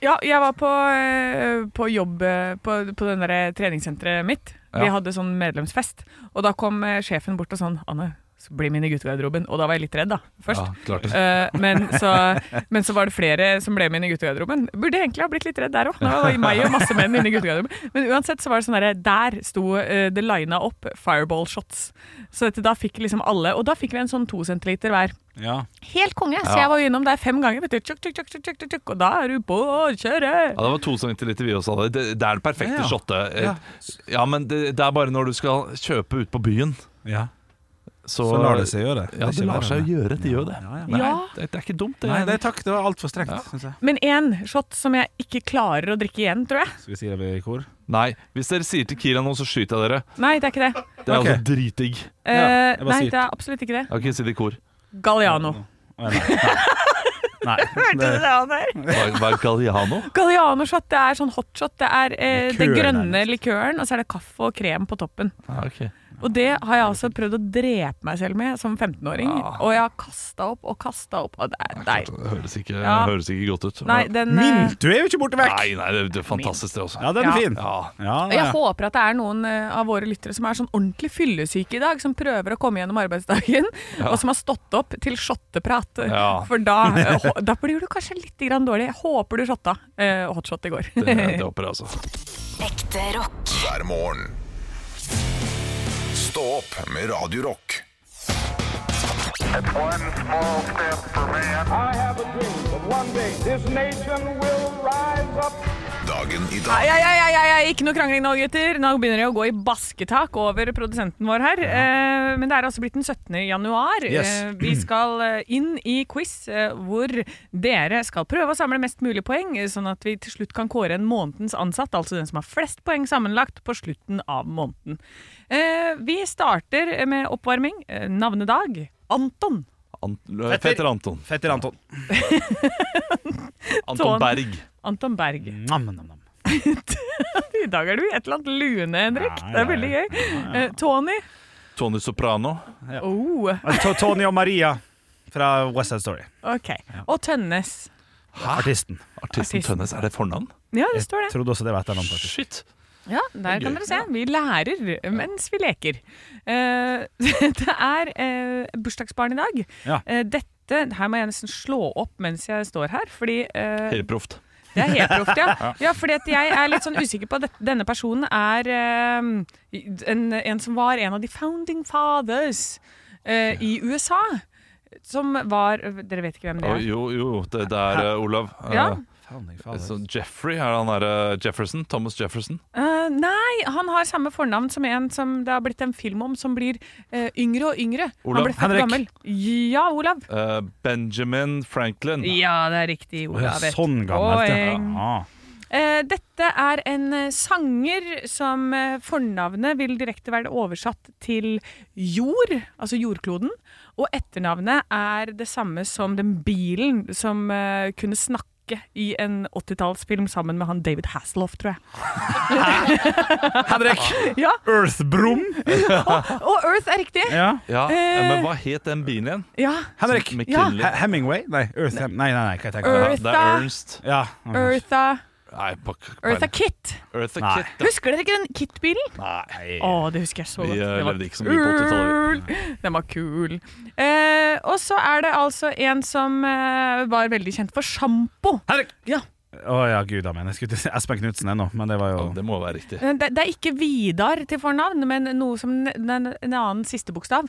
Speaker 3: Ja, jeg var på, eh, på jobb eh, på, på den der treningssenteret mitt. Vi
Speaker 2: Ja.
Speaker 3: hadde sånn medlemsfest, og da kom eh, sjefen bort og sånn Anne, så blir min i guttegarderoben. Og da var jeg litt redd, da, først.
Speaker 2: Ja, klart det.
Speaker 3: Eh, men, så, men så var det flere som ble med inn i guttegarderoben. Burde egentlig ha blitt litt redd der òg. Det var meg og masse menn inne i guttegarderoben. Men uansett så var det sånn derre Der sto eh, det lina opp fireball shots. Så dette, da fikk liksom alle Og da fikk vi en sånn to centiliter hver.
Speaker 4: Ja.
Speaker 3: Helt konge! Så jeg var jo innom der fem ganger, vet du. Tjukk, tjukk, tjukk, tjukk, tjukk, tjukk, og da er du på å kjøre!
Speaker 2: Ja, det var to centiliter vi også hadde. Det, det er det perfekte
Speaker 4: Ja.
Speaker 2: shotet.
Speaker 4: Ja.
Speaker 2: Ja, men det, det er bare når du skal kjøpe ut på byen,
Speaker 4: ja.
Speaker 2: så,
Speaker 4: Så lar det seg gjøre.
Speaker 2: Ja, det,
Speaker 4: er ikke
Speaker 2: lar
Speaker 4: verre.
Speaker 2: seg gjøre. Det gjør det.
Speaker 4: Ja, ja.
Speaker 2: Nei,
Speaker 3: Ja.
Speaker 2: det, det er ikke dumt, det.
Speaker 4: Nei, det, takk, det var altfor strengt,
Speaker 2: Ja.
Speaker 4: syns jeg.
Speaker 3: Men én shot som jeg ikke klarer å drikke igjen, tror jeg.
Speaker 4: Skal vi si det i kor?
Speaker 2: Nei, hvis dere sier til Kira noe, så skyter jeg dere.
Speaker 3: Nei, det er ikke det.
Speaker 2: Det er
Speaker 4: Ok.
Speaker 2: altså dritdigg. Jeg
Speaker 3: Eh,
Speaker 4: jeg bare
Speaker 3: nei,
Speaker 4: sier-
Speaker 3: det er absolutt ikke det.
Speaker 2: har ikke si det i kor.
Speaker 3: Galliano.
Speaker 4: Å, Nei. Nei.
Speaker 3: Hørte du
Speaker 4: Det,
Speaker 3: det, Anne?
Speaker 2: Hva hva er Galliano?
Speaker 3: Galliano-shot, det er sånn hotshot. Det er eh,
Speaker 4: Likør
Speaker 3: det grønne
Speaker 4: nærmest.
Speaker 3: likøren, og så er det kaffe og krem på toppen.
Speaker 2: Ja, ok.
Speaker 3: Og det har jeg også prøvd å drepe meg selv med som 15-åring.
Speaker 4: Ah.
Speaker 3: Og jeg har kasta opp og kasta opp, og det er nei.
Speaker 2: Det høres ikke,
Speaker 3: Ja.
Speaker 2: høres ikke godt ut.
Speaker 3: Nei, den eh,
Speaker 4: Mintu er jo ikke borte vekk!
Speaker 2: nei, nei, det, det er fantastisk, det også.
Speaker 4: Ja, den
Speaker 3: Ja.
Speaker 4: er fin.
Speaker 2: Ja.
Speaker 4: Ja,
Speaker 3: og
Speaker 4: nei.
Speaker 3: jeg håper at det er noen eh, av våre lyttere som er sånn ordentlig fyllesyke i dag, som prøver å komme gjennom arbeidsdagen, og som har stått opp til shotteprat.
Speaker 2: Ja.
Speaker 3: For da, eh, hå- da blir du kanskje litt grann dårlig. Jeg håper du shotta eh, hotshot i går.
Speaker 2: Det, det håper jeg, altså.
Speaker 6: Ekte rock.
Speaker 1: hver morgen. Stå opp med Radio Rock.
Speaker 7: One small step for man.
Speaker 8: I have a dream that one day this nation will rise up.
Speaker 1: Dagen i
Speaker 3: Ai,
Speaker 1: dag
Speaker 3: ai, ai, ai, ai, ikke noe krangling nå, gutter. Nå begynner det å gå i basketak over produsenten vår her. Eh, men det er altså blitt den 17. januar.
Speaker 4: Yes.
Speaker 3: Eh, vi skal eh, inn i quiz eh, hvor dere skal prøve å samle mest mulig poeng, eh, sånn at vi til slutt kan kåre en månedens ansatt, altså den som har flest poeng sammenlagt, på slutten av måneden. Eh, vi starter med oppvarming. Eh, navnedag. Anton.
Speaker 2: Ant, Fetter Anton.
Speaker 4: Fetter Anton.
Speaker 2: Anton
Speaker 3: Tån.
Speaker 2: Berg.
Speaker 3: Anton Berg.
Speaker 4: Nam, nam, nam.
Speaker 3: I dag er du i et eller annet lune, Henrik.
Speaker 4: Ja,
Speaker 3: Det
Speaker 4: ja,
Speaker 3: er veldig gøy. Eh, Tony.
Speaker 2: Tony Soprano.
Speaker 3: Oh,
Speaker 4: To- Tony og Maria fra West Side Story.
Speaker 3: ok. Og Tønnes.
Speaker 4: Artisten.
Speaker 2: Artisten
Speaker 3: Artisten.
Speaker 2: Tønnes. Er det fornavn?
Speaker 3: Ja, det
Speaker 4: Jeg
Speaker 3: står det.
Speaker 4: trodde også det var et eller annet. faktisk.
Speaker 2: Shit.
Speaker 3: Ja, Der kan dere se. Vi lærer mens vi leker. Eh, det er eh, bursdagsbarn i dag.
Speaker 4: Ja.
Speaker 3: Eh, dette her må jeg nesten slå opp mens jeg står her, fordi eh,
Speaker 2: Helt proft.
Speaker 3: Det er helt proft, ja. ja fordi at jeg er litt sånn usikker på at det- denne personen er eh, en, en som var en av de founding fathers eh, i USA. Som var Dere vet ikke hvem det
Speaker 2: Å,
Speaker 3: er?
Speaker 2: Jo, jo, det, det er eh, Olav. Eh,
Speaker 3: Ja.
Speaker 4: Founding fathers.
Speaker 2: så Jeffrey er han derre Jefferson. Thomas Jefferson.
Speaker 3: Eh, nei, han har samme fornavn som en som det har blitt en film om, som blir eh, yngre og yngre. han
Speaker 2: Olav.
Speaker 3: ble født
Speaker 4: Henrik.
Speaker 3: gammel. Ja, Olav.
Speaker 2: Eh, Benjamin Franklin.
Speaker 3: Ja, det er riktig.
Speaker 4: Å, ja,
Speaker 3: Olav. Et
Speaker 4: sånn gammelt, ja.
Speaker 3: poeng.
Speaker 4: Ja.
Speaker 3: Eh, dette er en eh, sanger som eh, fornavnet vil direkte være oversatt til jord, altså jordkloden. Og etternavnet er det samme som den bilen som eh, kunne snakke i en 80-tallsfilm sammen med han David Hasselhoff, tror jeg.
Speaker 4: Henrik!
Speaker 3: Ja,
Speaker 4: Earthbrom.
Speaker 3: Og Earth er riktig.
Speaker 4: Ja.
Speaker 2: Ja,
Speaker 3: Eh.
Speaker 2: Men hva het den bilen igjen?
Speaker 3: Ja.
Speaker 4: Henrik.
Speaker 2: Som McKinley.
Speaker 4: He Hemingway? Nei, Earth Hem Nei, nei, nei, hva heter
Speaker 2: Ja,
Speaker 4: det?
Speaker 3: Earth.
Speaker 2: det
Speaker 3: Eartha.
Speaker 2: er Ernst.
Speaker 4: Ja.
Speaker 3: Eartha,
Speaker 2: Nei, pak-
Speaker 3: Eartha
Speaker 2: peiling.
Speaker 3: Kit.
Speaker 2: Eartha
Speaker 4: Nei.
Speaker 2: Kitt. da.
Speaker 3: Husker dere ikke den Kit-bilen?
Speaker 2: Nei.
Speaker 3: Å, det husker jeg så
Speaker 2: Vi,
Speaker 3: godt.
Speaker 2: eh,
Speaker 3: Den var
Speaker 2: levde ikke så mye på 80-tallet.
Speaker 3: kul. Den var kul. Eh, og så er det altså en som eh, var veldig kjent for sjampo.
Speaker 4: Henrik!
Speaker 3: Ja.
Speaker 4: Å ja, gud a meg. Jeg skulle til å si Espen Knutsen ennå, men det var jo
Speaker 2: Ja, Det må være riktig.
Speaker 3: Eh, Det, det er ikke Vidar til fornavn, men noe som ne- ne- en annen siste bokstav.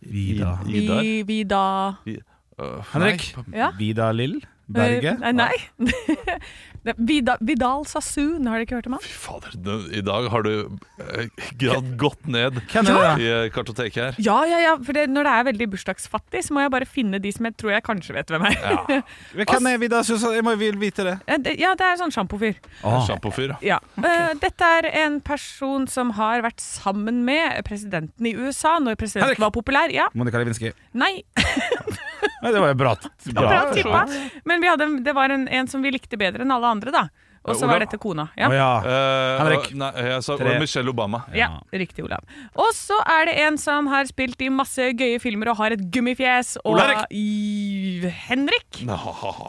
Speaker 4: Vida.
Speaker 2: Idar.
Speaker 3: Vi- Vida
Speaker 2: I- Øh,
Speaker 4: Henrik.
Speaker 2: nei,
Speaker 3: Ja.
Speaker 4: Vida Lill?
Speaker 3: Eh,
Speaker 4: Berge?
Speaker 3: Nei. nei. Det er Vida, Vidal Sassoon, har dere ikke hørt om han?
Speaker 2: Fy fader, det- i dag har du eh, gradd godt ned
Speaker 4: Hvem er det da?
Speaker 2: i eh, kartoteket her.
Speaker 3: Ja, ja, ja, for det, når det er veldig bursdagsfattig, så må jeg bare finne de som jeg tror jeg kanskje vet hvem er. Ja,
Speaker 4: Hvem er Vida Susanne? Jeg må jo vite det. Ah,
Speaker 3: det, ja det er sånn sjampofyr.
Speaker 2: Sjampofyr. ja.
Speaker 3: Ja. Eh, dette er en person som har vært sammen med presidenten i USA når presidenten
Speaker 4: Henrik!
Speaker 3: var populær. Ja,
Speaker 4: Monica Lewinsky.
Speaker 3: nei,
Speaker 4: Nei, det var jo bra. bra.
Speaker 3: bra tippa.
Speaker 2: sånn?
Speaker 3: Men vi hadde, det var en, en som vi likte bedre enn alle andre, da. Og så
Speaker 2: Olav?
Speaker 3: var dette kona.
Speaker 4: Å
Speaker 3: Ja.
Speaker 4: ja.
Speaker 2: Eh,
Speaker 4: Henrik.
Speaker 2: og- Nei, jeg sa
Speaker 4: Tre.
Speaker 2: Michelle Obama.
Speaker 3: Ja, riktig, Olav. Og så er det en som har spilt i masse gøye filmer og har et gummifjes. Og
Speaker 4: Olav
Speaker 3: I- Henrik.
Speaker 2: Nei,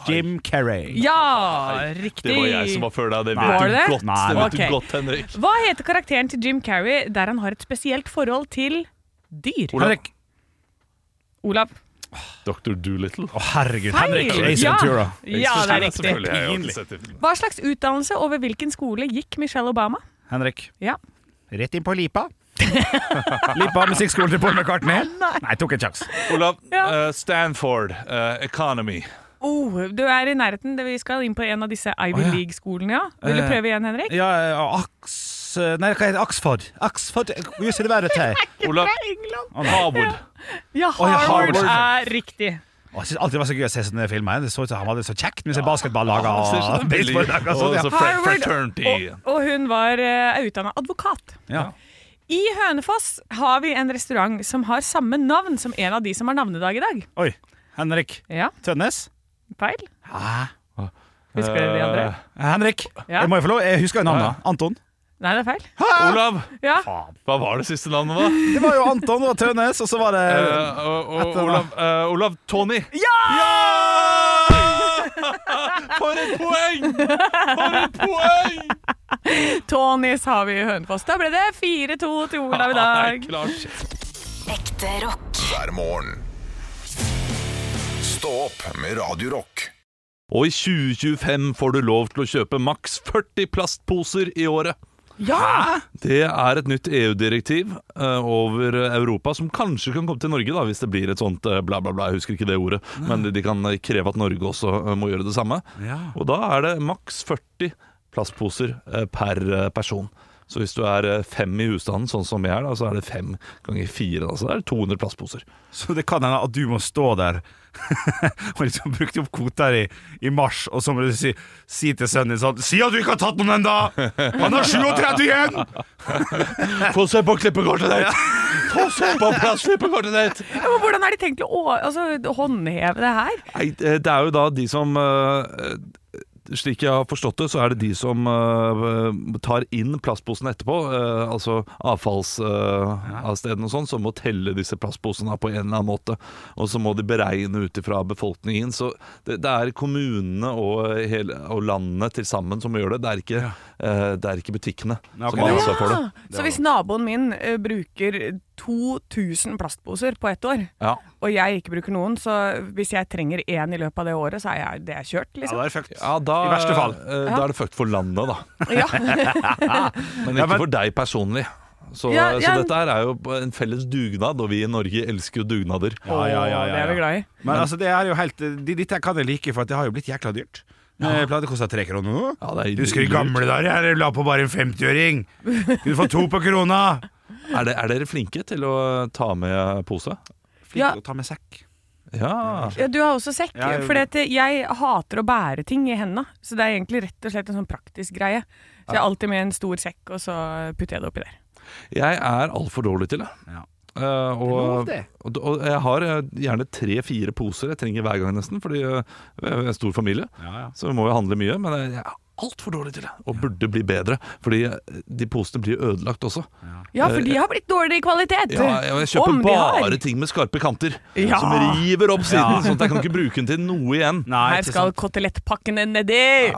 Speaker 4: Jim Carrey.
Speaker 3: Ja, riktig.
Speaker 2: det var jeg som var før deg. Det vet
Speaker 3: Var
Speaker 2: du
Speaker 3: det?
Speaker 2: godt,
Speaker 4: Nei,
Speaker 2: det vet
Speaker 3: ok.
Speaker 2: du godt Henrik.
Speaker 3: Hva heter karakteren til Jim Carrey der han har et spesielt forhold til dyr?
Speaker 2: Olav.
Speaker 4: Henrik.
Speaker 3: Olav.
Speaker 2: Dr. Doolittle.
Speaker 4: Å, herregud. Henrik.
Speaker 3: Feil!
Speaker 4: Ace
Speaker 3: Ja.
Speaker 4: Ventura.
Speaker 3: Ja, det er riktig.
Speaker 2: Selvfølgelig, jeg har aldri sett det.
Speaker 3: Hva slags utdannelse og ved hvilken skole gikk Michelle Obama?
Speaker 4: Henrik.
Speaker 3: Ja.
Speaker 4: Rett inn på Lipa. Lipa musikkskolen til Paul McCartney. Nei, tok en sjanse.
Speaker 2: Olav,
Speaker 3: Ja.
Speaker 2: eh, Stanford, eh, Economy.
Speaker 3: Oh, du er i nærheten. Vi skal inn på en av disse Ivy
Speaker 4: Å, ja.
Speaker 3: League-skolene, ja. Vil du
Speaker 4: Eh,
Speaker 3: prøve igjen, Henrik?
Speaker 4: Ja, eh, Aks... Nei, hva heter det? Axford? Axford University.
Speaker 2: Olav Harvard.
Speaker 4: eh,
Speaker 3: Ja,
Speaker 4: ja,
Speaker 3: Harvard
Speaker 4: Harvard.
Speaker 3: er riktig.
Speaker 4: Å, Jeg synes alltid det var så gøy å se sånne filmer. Det så ut som han hadde det så kjekt med seg basketballag
Speaker 2: Ah,
Speaker 4: og
Speaker 2: det ser ut som det er billig.
Speaker 4: baseballlag og sånn.
Speaker 2: Og så
Speaker 4: Ja.
Speaker 2: fra-
Speaker 3: Harvard,
Speaker 2: fraternity.
Speaker 3: Og, og hun var uh, utdanna advokat.
Speaker 4: Ja.
Speaker 3: I Hønefoss har vi en restaurant som har samme navn som en av de som har navnedag i dag.
Speaker 4: Oi. Henrik
Speaker 3: Ja,
Speaker 4: Tønnes?
Speaker 3: feil.
Speaker 4: Hæ? Eh.
Speaker 3: Husker dere de andre?
Speaker 2: Eh,
Speaker 4: Henrik,
Speaker 3: Ja.
Speaker 4: jeg må jo få lov. Jeg husker jo navnet.
Speaker 2: Ja.
Speaker 4: Anton.
Speaker 3: Nei, det er feil.
Speaker 2: Eh, Olav,
Speaker 3: Ja,
Speaker 2: hva var det siste navnet, da?
Speaker 4: Det var jo Anton, det var Tønnes, og så var det
Speaker 2: Eh, og- og
Speaker 4: Etter-
Speaker 2: Olav, eh, Olav Tony. Ja! For et poeng! For et poeng!
Speaker 3: Tonys har vi i Hønefoss. Da ble det 4-2 til Olav i
Speaker 2: Nei,
Speaker 3: dag.
Speaker 2: klart.
Speaker 6: Ekte rock.
Speaker 1: hver morgen. Stå opp med Radio Rock.
Speaker 2: Og i 2025 får du lov til å kjøpe maks 40 plastposer i året.
Speaker 3: Ja!
Speaker 2: Det er et nytt EU-direktiv eh, over Europa som kanskje kan komme til Norge, da, hvis det blir et sånt eh, bla, bla, bla. Jeg husker ikke det ordet. Men de kan eh, kreve at Norge også eh, må gjøre det samme.
Speaker 4: Ja.
Speaker 2: Og da er det maks 40 plastposer eh, per eh, person. Så hvis du er eh, fem i husstanden, sånn som jeg er, da, så er det fem ganger fire. Da, så det er 200 plastposer.
Speaker 4: Så det kan hende at du må stå der og liksom brukte opp kvoter i, i mars, og så må du si, si til sønnen din sånn Si at du ikke har tatt noen ennå! Han har 37 igjen!
Speaker 2: Få se på klippekortet ditt! Få se på plastklippekortet ditt!
Speaker 3: Ja, Men hvordan er de tenkt å å- altså, håndheve det her?
Speaker 2: Nei, eh, det er jo da de som eh, Slik jeg har forstått det, så er det de som eh, tar inn plastposene etterpå, eh, altså avfallsavstedene og sånn, som må telle disse plastposene på en eller annen måte. Og så må de beregne ut ifra befolkningen. Så det, det er kommunene og, hele, og landene til sammen som gjør det. Det er ikke, eh, det er ikke butikkene
Speaker 4: Ja,
Speaker 2: som
Speaker 4: ok.
Speaker 2: har ansvar for det.
Speaker 3: Ah, så hvis naboen min eh, bruker 2000 plastposer på ett år,
Speaker 2: Ja.
Speaker 3: og jeg ikke bruker noen, så hvis jeg trenger én i løpet av det året, så er jeg, det er kjørt,
Speaker 4: Ja,
Speaker 3: liksom.
Speaker 4: det er fucked.
Speaker 2: Ja, da,
Speaker 4: I verste fall.
Speaker 2: eh, da er det fucked for landet, da.
Speaker 3: Ja.
Speaker 2: Men
Speaker 4: Ja,
Speaker 2: ikke
Speaker 4: men-
Speaker 2: for deg personlig. Så,
Speaker 3: Ja, ja.
Speaker 2: så dette her er jo en felles dugnad, og vi i Norge elsker jo dugnader.
Speaker 4: Ja, ja, ja,
Speaker 3: Det er vi glad i.
Speaker 4: Men altså, det er jo helt de- Dette kan jeg like, for at det har jo blitt jækla dyrt. Ja. Plate koster tre kroner nå.
Speaker 2: Ja, det er
Speaker 4: du husker i
Speaker 2: dyrt.
Speaker 4: gamle dager? Jeg la på bare en 50-øring. Kunne få to på krona.
Speaker 2: Er, det, er dere flinke til å ta med pose?
Speaker 4: Flink
Speaker 3: Ja.
Speaker 4: å ta med sekk.
Speaker 2: Ja.
Speaker 3: Ja, du har også sekk.
Speaker 4: Ja, jeg-
Speaker 3: For jeg hater å bære ting i henda. Så det er egentlig rett og slett en sånn praktisk greie. Så jeg har alltid med en stor sekk, og så putter jeg det oppi der.
Speaker 2: Jeg er altfor dårlig til det.
Speaker 4: Ja.
Speaker 2: Eh, og, og, og jeg har eh, gjerne tre-fire poser jeg trenger hver gang, nesten, fordi eh, jeg er en stor familie.
Speaker 4: Ja, ja.
Speaker 2: Så vi må jo handle mye, men jeg er altfor dårlig til det, og burde bli bedre. Fordi eh, de posene blir ødelagt også.
Speaker 3: Ja, for de har blitt dårligere i kvalitet.
Speaker 2: Eh, Ja, jeg jeg kjøper
Speaker 3: Om de har.
Speaker 2: bare ting med skarpe kanter,
Speaker 3: Ja.
Speaker 2: som river opp siden, sånn at jeg kan ikke bruke den til noe igjen.
Speaker 4: Nei, sånn-
Speaker 3: Her
Speaker 4: ikke
Speaker 3: skal
Speaker 4: sant.
Speaker 3: kotelettpakkene nedi!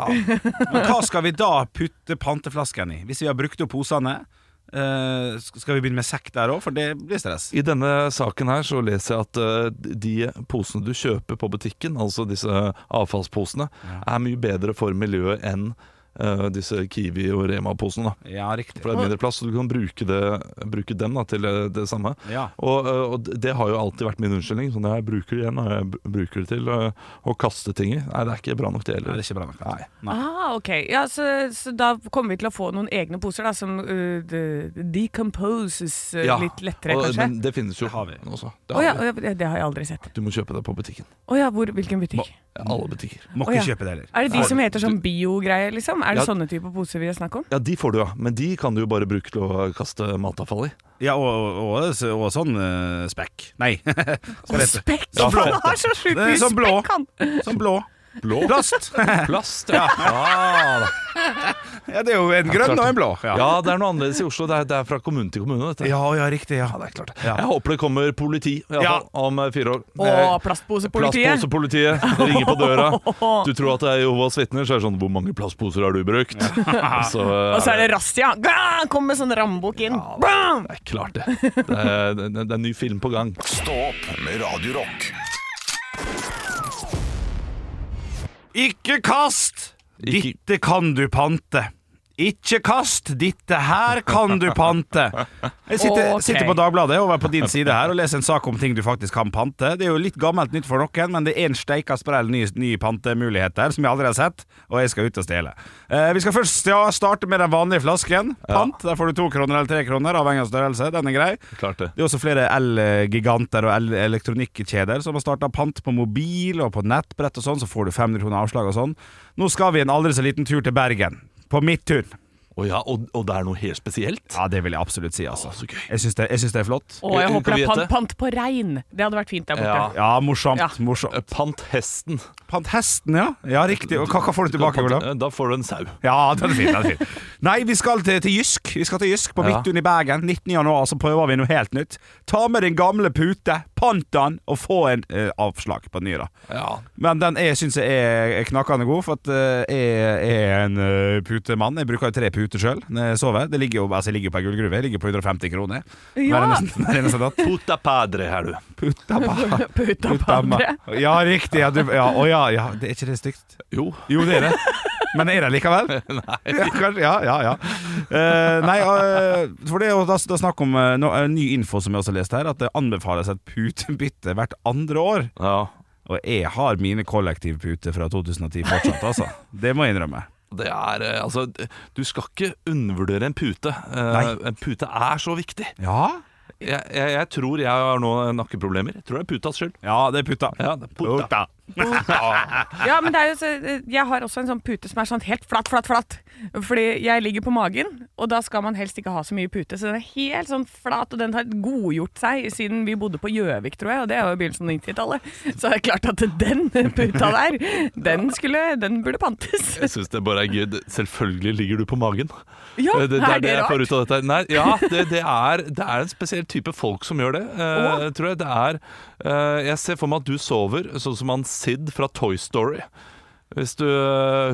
Speaker 4: Men hva skal vi da putte panteflasken i? Hvis vi har brukt opp posene, eh, skal vi begynne med sekk der òg? For det blir stress.
Speaker 2: I denne saken her så leser jeg at eh, de posene du kjøper på butikken, altså disse avfallsposene, er mye bedre for miljøet enn eh, disse Kiwi- og Rema-posene. da.
Speaker 4: Ja, riktig.
Speaker 2: For det er mindre plass, så du kan bruke, det, bruke dem da, til eh, det samme.
Speaker 4: Ja.
Speaker 2: Og, eh, og det har jo alltid vært min unnskyldning. Sånn, jeg bruker det igjen, og jeg br- bruker det til eh, å kaste ting i. Nei, det er ikke bra nok det
Speaker 4: Nei,
Speaker 2: heller.
Speaker 4: det er ikke bra nok.
Speaker 2: Nei.
Speaker 3: Ah, ok. Ja, så, så da kommer vi til å få noen egne poser da, som uh, de- decomposes uh, litt lettere,
Speaker 2: og,
Speaker 3: kanskje?
Speaker 2: men det finnes jo
Speaker 4: Det har vi.
Speaker 2: også.
Speaker 3: Å
Speaker 2: Det har
Speaker 3: ja,
Speaker 2: vi.
Speaker 3: å ja, det har jeg aldri sett.
Speaker 2: Du må kjøpe det på butikken.
Speaker 3: Å ja, hvor, hvilken butikk?
Speaker 2: Alle butikker.
Speaker 4: Må
Speaker 3: Å,
Speaker 4: ikke
Speaker 3: ja.
Speaker 4: kjøpe det heller.
Speaker 3: Er det de som heter sånn biogreier, liksom? Er det
Speaker 2: Ja.
Speaker 3: sånne typer poser vi har snakk om?
Speaker 2: Ja, de får du, ja. Men de kan du jo bare bruke til å kaste matavfall i.
Speaker 4: Ja, og, og, og, og sånn eh, spekk. Nei. Skal det hete.
Speaker 3: Spekk!
Speaker 4: Ja,
Speaker 3: Han
Speaker 4: flott.
Speaker 3: har så sjukt
Speaker 4: Det er
Speaker 3: mye
Speaker 4: sånn blå.
Speaker 3: spekk, han!
Speaker 4: Sånn blå.
Speaker 2: Blå
Speaker 4: Plast.
Speaker 2: plast, ja. Ah, Ja, da.
Speaker 4: Ja, det er jo en grønn og en blå.
Speaker 2: ja, det er noe annerledes i Oslo. Det er, det er fra kommune til kommune, dette.
Speaker 4: ja, ja, riktig. Ja.
Speaker 2: det er klart.
Speaker 4: Ja.
Speaker 2: Jeg håper det kommer politi i alle
Speaker 4: Ja.
Speaker 2: fall, om eh, fire år.
Speaker 3: Å,
Speaker 2: Eh,
Speaker 3: plastposepolitiet!
Speaker 2: Plastposepolitiet ringer på døra. Du tror at det er Jehovas vitner, så er det sånn Hvor mange plastposer har du brukt? Så, eh,
Speaker 3: Og så er det razzia! Gah! Kom med sånn rambukk inn! Bam!
Speaker 2: Nei, klart det. Det er, det er en ny film på gang.
Speaker 1: Stå opp med Radio Rock.
Speaker 4: Ikke kast!
Speaker 2: Ikke-
Speaker 4: Ditte kan du pante. Ikke kast, ditte her kan du pante. Jeg sitter,
Speaker 3: Ok.
Speaker 4: sitter på Dagbladet over på din side her og leser en sak om ting du faktisk kan pante. Det er jo litt gammelt nytt for noen, men det er en steika sprell ny, ny pantemulighet der som jeg aldri har sett, og jeg skal ut og stjele. Eh, vi skal først ja, starte med den vanlige flasken. Pant. Der får du to kroner eller tre kroner, avhengig av størrelse. Den er grei.
Speaker 2: Klart det.
Speaker 4: Det er også flere el-giganter og el- elektronikkjeder som har starta pant på mobil og på nettbrett og sånn, så får du 500 kroner avslag og sånn. Nå skal vi en aldri så liten tur til Bergen. På Midtun.
Speaker 2: Og, ja, og, og det er noe helt spesielt.
Speaker 4: Ja, det vil jeg absolutt si, altså.
Speaker 2: så gøy.
Speaker 4: Jeg syns det, jeg syns det er flott.
Speaker 3: Å, jeg
Speaker 2: Kan
Speaker 3: håper det
Speaker 2: vi
Speaker 3: er pant,
Speaker 2: gjette?
Speaker 3: pant på rein! Det hadde vært fint der borte.
Speaker 2: Ja.
Speaker 4: Ja, morsomt.
Speaker 3: Ja.
Speaker 4: morsomt.
Speaker 2: Pant hesten.
Speaker 4: Pant hesten, ja. Ja, riktig. Og hva, hva får du tilbake, Olav?
Speaker 2: Da får du en sau.
Speaker 4: Ja, den er fin. den er fin Nei, vi skal til, til Jysk. Vi skal til Jysk på
Speaker 2: Ja.
Speaker 4: Midtun i Bergen. 19. januar så prøver vi noe helt nytt. Ta med din gamle pute, pant den, og få en eh, avslag på den nye, da.
Speaker 2: Ja.
Speaker 4: Men den er, synes jeg er er knakende god, for at eh, jeg er en eh, putemann. Jeg bruker jo tre puter sjøl når jeg sover. Det ligger jo, altså, jeg ligger jo på ei gullgruve. Jeg ligger på 150 kroner hver
Speaker 3: Ja.
Speaker 4: eneste, hver eneste natt.
Speaker 2: Puta padre her, du.
Speaker 4: Putama.
Speaker 3: Puta på
Speaker 4: Putama.
Speaker 3: andre.
Speaker 4: Ja, riktig. Ja, du, ja, å ja, ja. Det er ikke det stygt?
Speaker 2: Jo.
Speaker 4: Jo, det er det. Men er det likevel? Ja, kanskje, ja, ja. ja. Eh, nei, eh, for det er jo da, da snakk om eh, no, eh, ny info som jeg også leste her, at det anbefales et putebytte hvert andre år.
Speaker 2: Ja.
Speaker 4: Og jeg har mine kollektivputer fra 2010 fortsatt, altså. Det må jeg innrømme.
Speaker 2: Det er eh, Altså, du skal ikke undervurdere en pute. Eh,
Speaker 4: Nei.
Speaker 2: En pute er så viktig.
Speaker 4: Ja?
Speaker 2: Jeg, jeg, jeg tror jeg har nå nakkeproblemer. Jeg tror det er putas skyld.
Speaker 4: Ja, det er putta.
Speaker 2: Ja, det er puta.
Speaker 3: Ja, men det er jo så, jeg har også en sånn pute som er sånn helt flatt, flatt, flatt. Fordi jeg ligger på magen, og da skal man helst ikke ha så mye pute. Så den er helt sånn flat, og den har godgjort seg siden vi bodde på Gjøvik, tror jeg. Og det er jo i begynnelsen av 90-tallet. Så det er klart at den puta der, den, skulle, den burde pantes.
Speaker 2: Jeg syns det bare er gøy. Selvfølgelig ligger du på magen.
Speaker 3: Ja,
Speaker 2: Eh, det, det
Speaker 3: er
Speaker 2: er det
Speaker 3: det
Speaker 2: jeg får
Speaker 3: rart?
Speaker 2: ut av dette. Nei, ja, det, det, er, det er en spesiell type folk som gjør det. eh, Tror jeg det er eh, Jeg ser for meg at du sover sånn som han Sid fra Toy Story. Hvis du eh,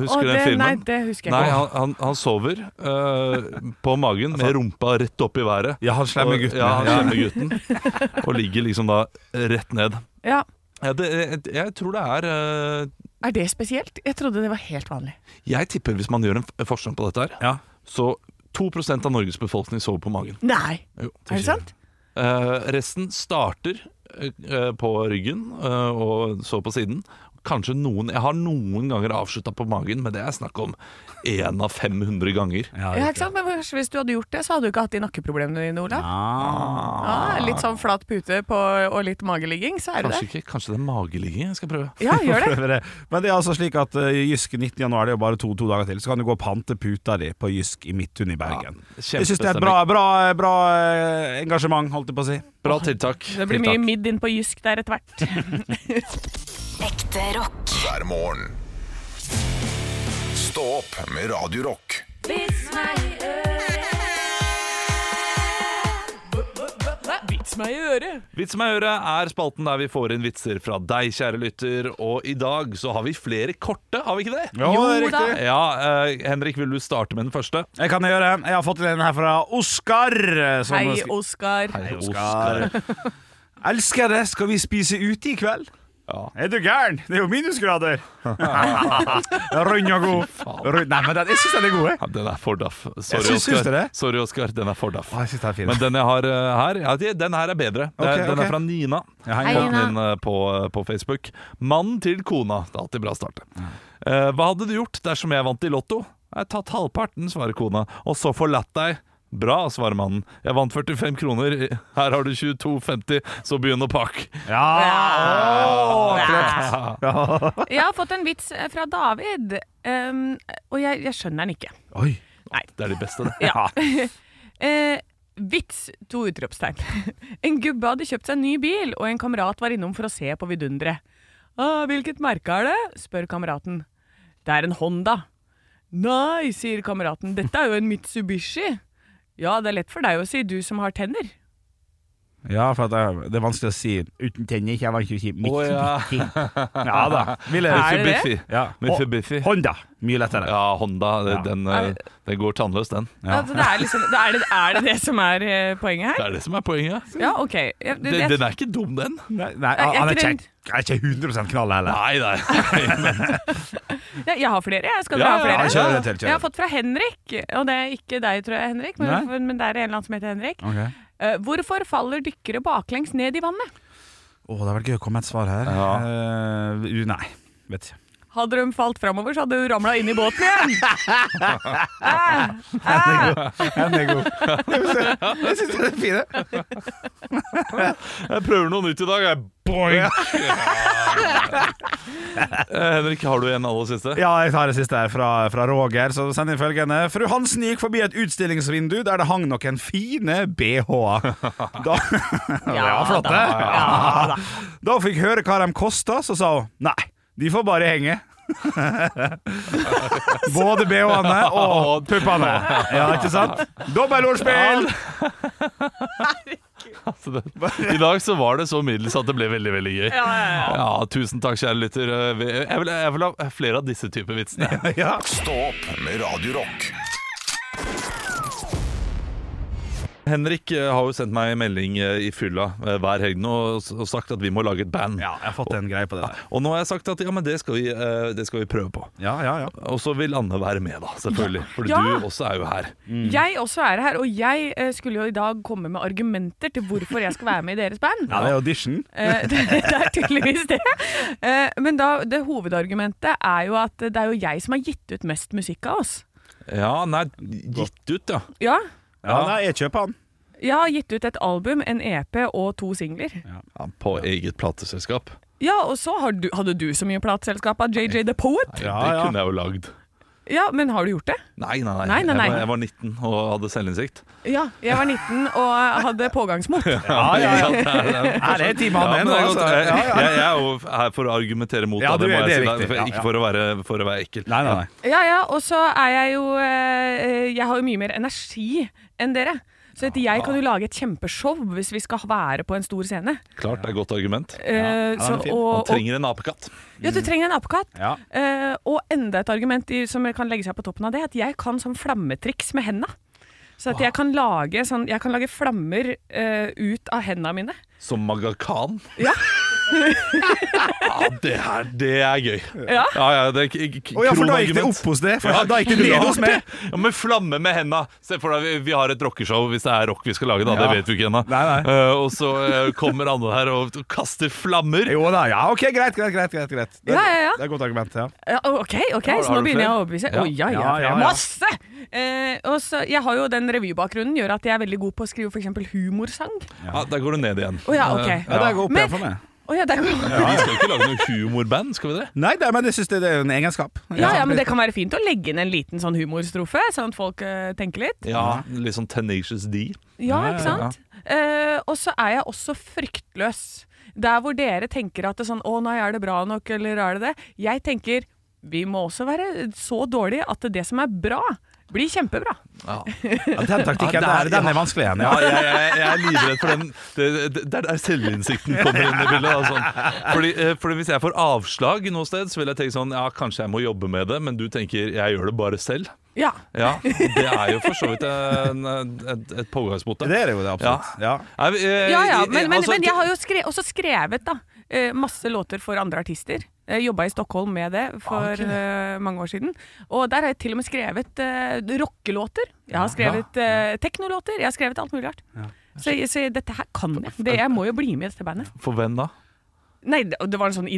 Speaker 3: Å,
Speaker 2: husker
Speaker 3: det-
Speaker 2: den filmen.
Speaker 3: Nei, det husker
Speaker 2: Nei,
Speaker 3: jeg ikke.
Speaker 2: han, han, han sover eh, på magen med rumpa rett opp i været.
Speaker 4: Ja, han slemme
Speaker 2: Og-
Speaker 4: gutten,
Speaker 2: Ja, han
Speaker 4: ja.
Speaker 2: slemme gutten. Og ligger liksom da rett ned.
Speaker 3: Ja.
Speaker 2: Ja, det, jeg, jeg tror det er eh,
Speaker 3: Er det spesielt? Jeg trodde det var helt vanlig.
Speaker 2: Jeg tipper hvis man gjør en f- forskjell på dette her,
Speaker 4: Ja.
Speaker 2: så 2 av Norges befolkning sover på magen.
Speaker 3: Nei,
Speaker 2: Jo,
Speaker 3: er det sant?
Speaker 2: Eh, resten starter eh, på ryggen eh, og så på siden. Kanskje noen Jeg har noen ganger avslutta på magen, men det er snakk om én av 500 ganger.
Speaker 3: Ja, ikke sant? Men kanskje hvis du hadde gjort det, så hadde du ikke hatt de nakkeproblemene dine, Olav.
Speaker 4: Ah.
Speaker 3: Ja, litt sånn flat pute på, og litt mageligging, så er du
Speaker 2: Kanskje,
Speaker 3: der.
Speaker 2: ikke, kanskje det er mageligging jeg skal prøve.
Speaker 3: Ja, gjør det.
Speaker 4: Men det- Men det er altså slik at eh, Jysk 19. januar, det er jo bare to, to dager til, så kan du gå og pante puta di på Jysk i Midtun i Bergen.
Speaker 2: Ja,
Speaker 4: jeg syns det er et bra, bra, bra eh, engasjement, holdt jeg på å si.
Speaker 2: Bra tiltak.
Speaker 3: Det blir mye
Speaker 2: tiltak.
Speaker 3: midd inn på Jysk der etter hvert.
Speaker 6: Ekte rock.
Speaker 1: hver morgen. Stå opp med Radio Rock.
Speaker 3: Vits meg i øret!
Speaker 2: Vits meg i øret er spalten der vi får inn vitser fra deg, kjære lytter. Og i dag så har vi flere korte, har vi ikke det?
Speaker 4: Jo, det er
Speaker 3: Jo da.
Speaker 4: riktig.
Speaker 2: Ja, eh, Henrik, vil du starte med den første?
Speaker 4: Jeg kan gjøre Jeg har fått en her fra Oskar. eh, som
Speaker 3: Hei,
Speaker 4: skri-
Speaker 3: Oskar.
Speaker 2: Hei,
Speaker 4: Oskar. Elsker det, skal vi spise ute i kveld?
Speaker 2: Ja.
Speaker 4: Er du gæren? Det er jo minusgrader! Rund og god. Rund. Nei, men den, jeg syns den er god. Jeg.
Speaker 2: Ja, Den er for daff. Sorry,
Speaker 4: Jeg syns- syns
Speaker 2: Oskar.
Speaker 4: dere?
Speaker 2: Sorry, Oskar. Den er for daff.
Speaker 4: Å, jeg synes den er fin.
Speaker 2: Men den jeg har eh, her, ja, de- den her er bedre. Det er,
Speaker 4: Ok,
Speaker 2: Den
Speaker 4: ok.
Speaker 2: er fra Nina.
Speaker 4: Ja, hei,
Speaker 2: Fått
Speaker 4: Nina.
Speaker 2: den inn eh, på, på Facebook. Mannen til kona. Det er alltid bra å starte. Eh, hva hadde du gjort dersom jeg vant i Lotto? Jeg har tatt halvparten, svarer kona. Og så forlatt deg. Bra, svarer mannen. Jeg vant 45 kroner. Her har du 22,50, så begynn å pakke.
Speaker 3: Ah. Jeg har fått en vits eh, fra David, ehm, og jeg, jeg skjønner den ikke.
Speaker 2: Oi.
Speaker 3: Nei.
Speaker 2: Det er de beste, det.
Speaker 3: Ja. Eh, vits, to utropstegn. En gubbe hadde kjøpt seg en ny bil, og en kamerat var innom for å se på vidunderet. «Ah, 'Hvilket merke er det?' spør kameraten. 'Det er en Honda'. 'Nei', sier kameraten, 'dette er jo en Mitsubishi'. 'Ja, det er lett for deg å si, du som har tenner'.
Speaker 4: Ja, for at det, det er vanskelig å si uten tenner. Jeg var ikke si mitt.
Speaker 2: Å, ja.
Speaker 4: ja da. Ville
Speaker 3: Er det det?
Speaker 2: Mitsubishi.
Speaker 4: Ja.
Speaker 2: Mitsubishi.
Speaker 4: Honda. Mye lettere.
Speaker 2: Ja, Honda. det- Den, eh,
Speaker 3: Er-
Speaker 2: den går tannløs, den.
Speaker 3: Altså, det er, liksom, det er, det, er det det som er eh, poenget
Speaker 2: Det
Speaker 3: her?
Speaker 2: er det som er poenget.
Speaker 3: Ja, OK. Ja, det-
Speaker 2: Den,
Speaker 3: det-
Speaker 2: den er ikke dum, den.
Speaker 4: Nei, nei,
Speaker 3: Jeg- jeg
Speaker 4: han er ikke,
Speaker 3: tror-
Speaker 4: han er ikke 100 knall heller.
Speaker 2: Nei, nei.
Speaker 3: Ja, jeg har flere. Jeg skal
Speaker 2: Ja,
Speaker 3: dere ha
Speaker 2: ja,
Speaker 3: flere?
Speaker 4: ja, kjør det til, kjør det.
Speaker 3: Jeg har fått fra Henrik, og det er ikke deg, tror jeg, Henrik, men,
Speaker 4: Nei.
Speaker 3: men det er en eller annen som heter Henrik.
Speaker 4: Ok.
Speaker 3: Eh, hvorfor faller dykkere baklengs ned i vannet?
Speaker 4: Å, det hadde vært gøy å komme med et svar her.
Speaker 2: Ja.
Speaker 4: Eh, u- nei, vet ikke.
Speaker 3: Hadde de falt framover, så hadde du ramla inn i båten igjen! Eh,
Speaker 4: Den er god. Jeg syns den er fin. jeg.
Speaker 2: Jeg prøver noe nytt i dag. Jeg boink! Eh, Henrik, har du en aller siste?
Speaker 4: Ja, jeg tar det siste her fra, fra Roger, som sender inn følgende. Fru Hansen gikk forbi et utstillingsvindu der det hang noen fine BH-er. Da, ja, flotte.
Speaker 3: Ja, da.
Speaker 4: da hun fikk høre hva de kosta, så sa hun nei, de får bare henge. Både BH-ene og puppene. Ja, ikke sant? Dobbeltordspill!
Speaker 2: Altså, det- I dag så var det så middels at det ble veldig veldig gøy.
Speaker 3: Ja, ja, ja.
Speaker 2: Ja, Tusen takk, kjære lytter. Eh, vi- Jeg vil, jeg vil ha flere av disse typer vitsene.
Speaker 4: Ja.
Speaker 1: Stå opp med Radio Rock.
Speaker 2: Henrik eh, har jo sendt meg en melding eh, i fylla eh, hver helg nå og s- og sagt at vi må lage et band.
Speaker 4: ja, jeg har fått en greie på det der.
Speaker 2: Og nå har jeg sagt at ja, men det skal vi, eh, det skal vi prøve på.
Speaker 4: Ja, ja, ja.
Speaker 2: Og så vil Anne være med, da, selvfølgelig. For
Speaker 3: Ja.
Speaker 2: du også er jo her.
Speaker 3: Jeg også er her, og jeg eh, skulle jo i dag komme med argumenter til hvorfor jeg skal være med i deres band.
Speaker 4: Ja, det er audition.
Speaker 3: Eh, det, det er tydeligvis det. Eh, men da, det hovedargumentet er jo at det er jo jeg som har gitt ut mest musikk av oss.
Speaker 2: Ja, nei, gitt ut, ja.
Speaker 3: Ja,
Speaker 4: Ja, nei, jeg kjøper han.
Speaker 3: Jeg har gitt ut et album, en EP og to singler.
Speaker 2: ja på eget plateselskap.
Speaker 3: Ja, og så har du, hadde du så mye plateselskap av JJ The Poet.
Speaker 4: Ja,
Speaker 2: det
Speaker 4: ja.
Speaker 2: kunne jeg jo lagd.
Speaker 3: Ja, men har du gjort det?
Speaker 2: Nei, nei, nei.
Speaker 3: Nei, nei, nei.
Speaker 2: Jeg, var, jeg var 19 og hadde selvinnsikt.
Speaker 3: Ja, jeg var 19 og hadde pågangsmot.
Speaker 4: Ja, ja, ja.
Speaker 2: det er, det er-
Speaker 4: Nei, det er en time
Speaker 2: Ja,
Speaker 4: han
Speaker 2: men
Speaker 4: er
Speaker 2: det
Speaker 4: nå,
Speaker 2: er godt.
Speaker 4: altså.
Speaker 2: Jeg,
Speaker 4: Ja, ja.
Speaker 2: jeg, jeg er jo her for å argumentere mot
Speaker 4: Ja,
Speaker 2: deg,
Speaker 4: du er-
Speaker 2: det, må jeg
Speaker 4: det er
Speaker 2: si.
Speaker 4: riktig.
Speaker 2: deg.
Speaker 4: Ja, ja.
Speaker 2: Ikke for å være, for å være ekkel.
Speaker 4: Nei, nei, nei.
Speaker 3: Ja, ja, og så er jeg jo eh, Jeg har jo mye mer energi enn dere. Så at jeg kan jo lage et kjempeshow hvis vi skal være på en stor scene.
Speaker 2: Klart det er et godt argument.
Speaker 3: Eh,
Speaker 4: den er
Speaker 3: så,
Speaker 4: fin.
Speaker 2: Man
Speaker 3: og, og,
Speaker 2: trenger en apekatt.
Speaker 3: ja, du trenger en apekatt.
Speaker 4: Ja.
Speaker 3: Eh, og enda et argument i, som kan legge seg på toppen av det, at jeg kan sånn flammetriks med henda. Så at jeg kan lage, sånn, jeg kan lage flammer eh, ut av henda mine.
Speaker 2: Som Maga Khan.
Speaker 3: Ja.
Speaker 2: ja, det er, det er gøy.
Speaker 3: Ja.
Speaker 2: ja, ja det er k- k-
Speaker 4: Å ja, for da gikk det
Speaker 2: kronargument.
Speaker 4: opp hos deg. For da gikk det ned
Speaker 2: klart
Speaker 4: hos meg.
Speaker 2: det. Ja, men flamme med henda. Se for deg, vi, vi har et rockeshow hvis det er rock vi skal lage, da.
Speaker 4: Ja.
Speaker 2: Det vet vi ikke ennå.
Speaker 4: Nei, nei.
Speaker 2: Eh, og så eh, kommer Anne her og kaster flammer.
Speaker 4: Jo da, ja, ok, greit, greit, greit, greit, greit. Det, er-
Speaker 3: Ja, ja, ja.
Speaker 4: det er et godt argument, ja.
Speaker 3: Ja, OK, ok,
Speaker 2: Har-
Speaker 3: så
Speaker 2: har
Speaker 3: nå begynner
Speaker 2: du
Speaker 3: jeg å
Speaker 2: flere?
Speaker 3: overbevise.
Speaker 2: Ja.
Speaker 3: Å ja, ja,
Speaker 4: Ja, ja, ja.
Speaker 3: masse! Eh, og så, jeg har jo den revybakgrunnen gjør at jeg er veldig god på å skrive f.eks. humorsang.
Speaker 2: Ja, der går du ned igjen.
Speaker 3: Å ja, OK.
Speaker 4: Ja, det går opp
Speaker 3: Men-
Speaker 4: igjen for meg.
Speaker 3: Å ja, det er god.
Speaker 2: Vi skal jo ikke lage noe humorband, skal vi det?
Speaker 4: Nei, det, men jeg synes det, det er en egenskap.
Speaker 3: Ja, ja, men det kan være fint å legge inn en liten sånn humorstrofe, sånn at folk eh, tenker litt.
Speaker 2: Ja, Litt sånn Tenacious D.
Speaker 4: Ja,
Speaker 3: Ja,
Speaker 4: ja,
Speaker 3: ikke sant? Eh, og så er jeg også fryktløs. Der hvor dere tenker at det er sånn Å nei, er det bra nok, eller er det det? Jeg tenker vi må også være så dårlige at det som er bra, blir kjempebra.
Speaker 2: Ja.
Speaker 4: Ja, den taktikken
Speaker 2: Ja,
Speaker 4: der,
Speaker 2: der,
Speaker 4: den
Speaker 2: ja.
Speaker 4: er vanskelig igjen.
Speaker 2: Ja,
Speaker 4: Ja.
Speaker 2: jeg, jeg, jeg er livredd for den det- det- Det er der selvinnsikten kommer inn i bildet. da, sånn. Fordi, eh, fordi Hvis jeg får avslag noe sted, så vil jeg tenke sånn Ja, kanskje jeg må jobbe med det, men du tenker jeg gjør det bare selv.
Speaker 3: Ja.
Speaker 2: Ja, Det er jo for så vidt en, et, et pågangsmot. da.
Speaker 4: Det er det jo, det, absolutt. Ja.
Speaker 2: Nei, vi, eh,
Speaker 3: Ja, ja,
Speaker 2: i- i-
Speaker 3: men, men,
Speaker 2: altså,
Speaker 3: men jeg har jo skre også skrevet da, eh, masse låter for andre artister. Jeg jobba i Stockholm med det
Speaker 2: Ah,
Speaker 3: for eh, mange år siden. Og der har jeg til og med skrevet eh, rockelåter. Jeg har skrevet eh, teknolåter. Jeg har skrevet alt mulig rart. Så, så dette her kan jeg. Det, jeg må jo bli med i dette bandet.
Speaker 2: For hvem da?
Speaker 3: Nei, det det var en sånn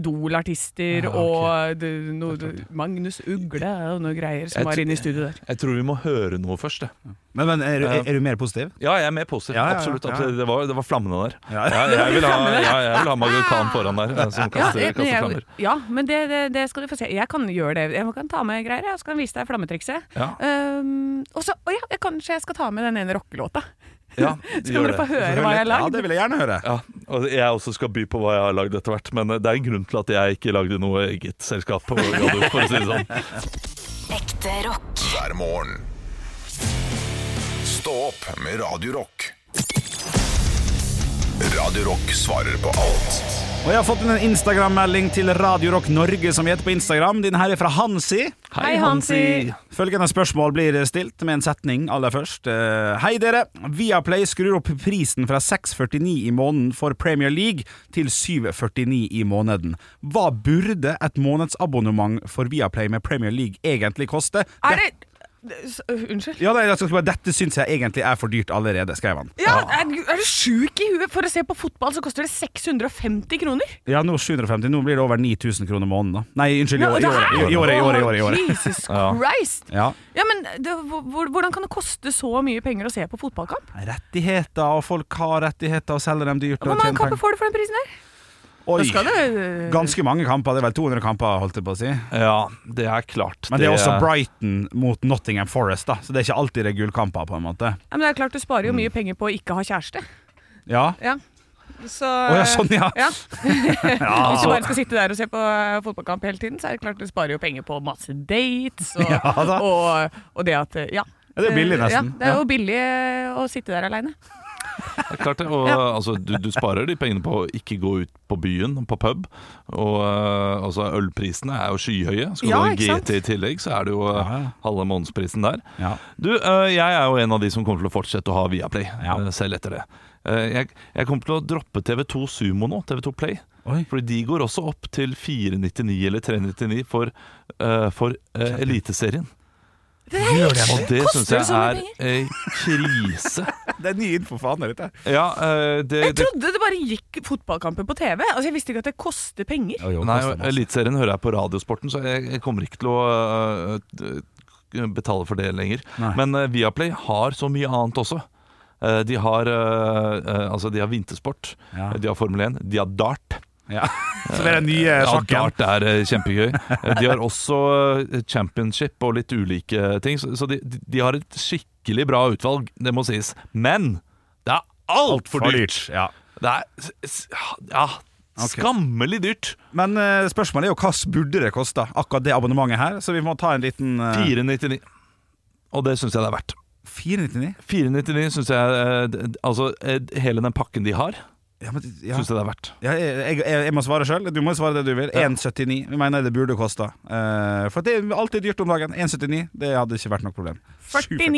Speaker 3: Idol-artister
Speaker 2: Ja,
Speaker 3: og det, noe, Magnus Ugle og noe greier som
Speaker 2: Jeg
Speaker 3: var
Speaker 2: tror-
Speaker 3: inne i studio der.
Speaker 2: Jeg tror vi må høre noe først. jeg.
Speaker 4: Men, men er, er, er du mer positiv?
Speaker 2: Ja, jeg er mer positiv.
Speaker 4: Ja, ja, ja,
Speaker 2: absolutt.
Speaker 4: ja.
Speaker 2: absolutt. Det, var, det var flammene der.
Speaker 4: Ja.
Speaker 2: Ja, jeg, vil ha, ja, jeg vil ha Magnus Khan foran der, eh, som
Speaker 3: Ja,
Speaker 2: kaster,
Speaker 3: jeg- men
Speaker 2: kaster
Speaker 3: jeg-
Speaker 2: flammer.
Speaker 3: ja, men det, det, det skal du få se. Jeg kan gjøre det. Jeg kan ta med greier, jeg, og så kan jeg vise deg flammetrikset.
Speaker 2: Ja.
Speaker 3: Um, og så, å ja, jeg, kanskje jeg skal ta med den ene rockelåta.
Speaker 2: Ja,
Speaker 3: Så kan dere
Speaker 2: gjør det.
Speaker 3: få høre hva jeg har
Speaker 4: Ja,
Speaker 3: lagd.
Speaker 4: det vil jeg gjerne høre.
Speaker 2: Ja, og jeg også skal by på hva jeg har lagd etter hvert, men eh, det er en grunn til at jeg ikke lagde noe eget selskap. på radio, for å si det sånn.
Speaker 6: Ekte rock.
Speaker 1: hver morgen. Stå opp med Radio Rock. Radio Rock svarer på alt.
Speaker 4: Og jeg har fått en Instagram-melding til Radio Rock Norge, som vi heter på Instagram. Din her er fra Hansi.
Speaker 3: Hei, Hansi.
Speaker 4: Følgende spørsmål blir stilt med en setning aller først. Eh, Hei dere, Viaplay skrur opp prisen fra 6,49 i måneden for Premier League til 7,49 i måneden. Hva burde et månedsabonnement for Viaplay med Premier League egentlig koste?
Speaker 3: Er det s- Unnskyld.
Speaker 4: Ja, nei, jeg skal bare, Dette syns jeg egentlig er for dyrt allerede, skrev han.
Speaker 3: Ja, er, du- er du sjuk i huet? For å se på fotball så koster det 650 kroner!
Speaker 4: Ja, nå 750, nå blir det over 9000 kroner måneden, da. Nei, unnskyld, i år- i
Speaker 3: det
Speaker 4: året.
Speaker 3: her-
Speaker 4: I året, i året, i året, i
Speaker 3: Å,
Speaker 4: året.
Speaker 3: Jesus
Speaker 2: Ja.
Speaker 3: Christ!
Speaker 4: Ja.
Speaker 3: Ja, men det, hvor- hvor- Hvordan kan det koste så mye penger å se på fotballkamp?
Speaker 4: Rettigheter, og folk har rettigheter og selger dem dyrt.
Speaker 3: Hvor
Speaker 4: og
Speaker 3: mange
Speaker 4: tjener
Speaker 3: kamper
Speaker 4: penger.
Speaker 3: får du for den prisen her? Da skal
Speaker 4: Oi,
Speaker 3: det
Speaker 4: ganske mange kamper. Det er vel 200 kamper, holdt jeg på å si.
Speaker 2: Ja, det er klart.
Speaker 4: Men det er også Brighton mot Nottingham Forest, da. Så det er ikke alltid det er gullkamper, på en måte.
Speaker 3: Ja, men det er klart du sparer jo mye penger på å ikke ha kjæreste.
Speaker 4: Ja.
Speaker 3: Ja. Så
Speaker 4: Å ja, sånn, ja.
Speaker 3: ja. Hvis du bare skal sitte der og se på eh, fotballkamp hele tiden, så er det klart du sparer jo penger på masse dates og,
Speaker 4: Ja da.
Speaker 3: og, og det at eh, Ja.
Speaker 4: Ja, det er billig
Speaker 3: Eh,
Speaker 4: nesten.
Speaker 3: Ja, det er
Speaker 4: Ja.
Speaker 3: jo billig eh, å sitte der aleine.
Speaker 2: Det er klart det, og altså, du, du sparer de pengene på å ikke gå ut på byen, på pub. Og eh, altså, ølprisene er jo skyhøye. Skal
Speaker 3: Ja,
Speaker 2: du
Speaker 3: ikke
Speaker 2: ha
Speaker 3: sant?
Speaker 2: GT i tillegg, så er det jo eh, halve månedsprisen der.
Speaker 4: Ja.
Speaker 2: Du, eh, jeg er jo en av de som kommer til å fortsette å ha Viaplay,
Speaker 4: Ja.
Speaker 2: eh, selv etter det. Eh, jeg, jeg kommer til å droppe TV2 Sumo nå, TV2 Play.
Speaker 4: Oi.
Speaker 2: Fordi de går også opp til 499 eller 399 for, eh, for eh, Eliteserien. Og det
Speaker 3: Koster
Speaker 2: syns
Speaker 3: det
Speaker 2: jeg
Speaker 3: så
Speaker 2: er
Speaker 3: mye
Speaker 2: ei krise.
Speaker 4: Det er ny info, faen. Dette.
Speaker 2: Ja, eh, det,
Speaker 3: Jeg
Speaker 2: det
Speaker 3: trodde det bare gikk fotballkamper på TV. Altså, Jeg visste ikke at det koster penger.
Speaker 2: Nei, Eliteserien hører jeg på Radiosporten, så jeg, jeg kommer ikke til å øh, øh, betale for det lenger.
Speaker 4: Nei.
Speaker 2: Men øh, Viaplay har så mye annet også. Eh, de, har, øh, øh, altså, de har vintersport,
Speaker 4: Ja.
Speaker 2: de har Formel 1, de har dart.
Speaker 4: Ja. Så det er den nye
Speaker 2: Ja,
Speaker 4: sjakken.
Speaker 2: dart er øh, kjempegøy. Eh, de har også øh, championship og litt ulike ting, så, så de, de de har et skikkelig bra utvalg, det må sies. Men det er altfor
Speaker 4: For
Speaker 2: dyrt!
Speaker 4: Ja.
Speaker 2: Det er s- s- ja,
Speaker 4: Ok.
Speaker 2: skammelig dyrt.
Speaker 4: Men eh, spørsmålet er jo hva burde det koste, akkurat det abonnementet her? Så vi må ta en liten eh,
Speaker 2: 499. Og det syns jeg det er verdt.
Speaker 4: 499?
Speaker 2: 499 syns jeg eh, d- Altså, eh, hele den pakken de har,
Speaker 4: Ja, men, ja.
Speaker 2: syns jeg det er verdt.
Speaker 4: Ja, jeg, jeg, jeg må svare sjøl. Du må svare det du vil. 1,79 Vi mener det burde koste. Eh, for det er alltid dyrt om dagen. 1,79 det hadde ikke vært noe problem.
Speaker 3: 49.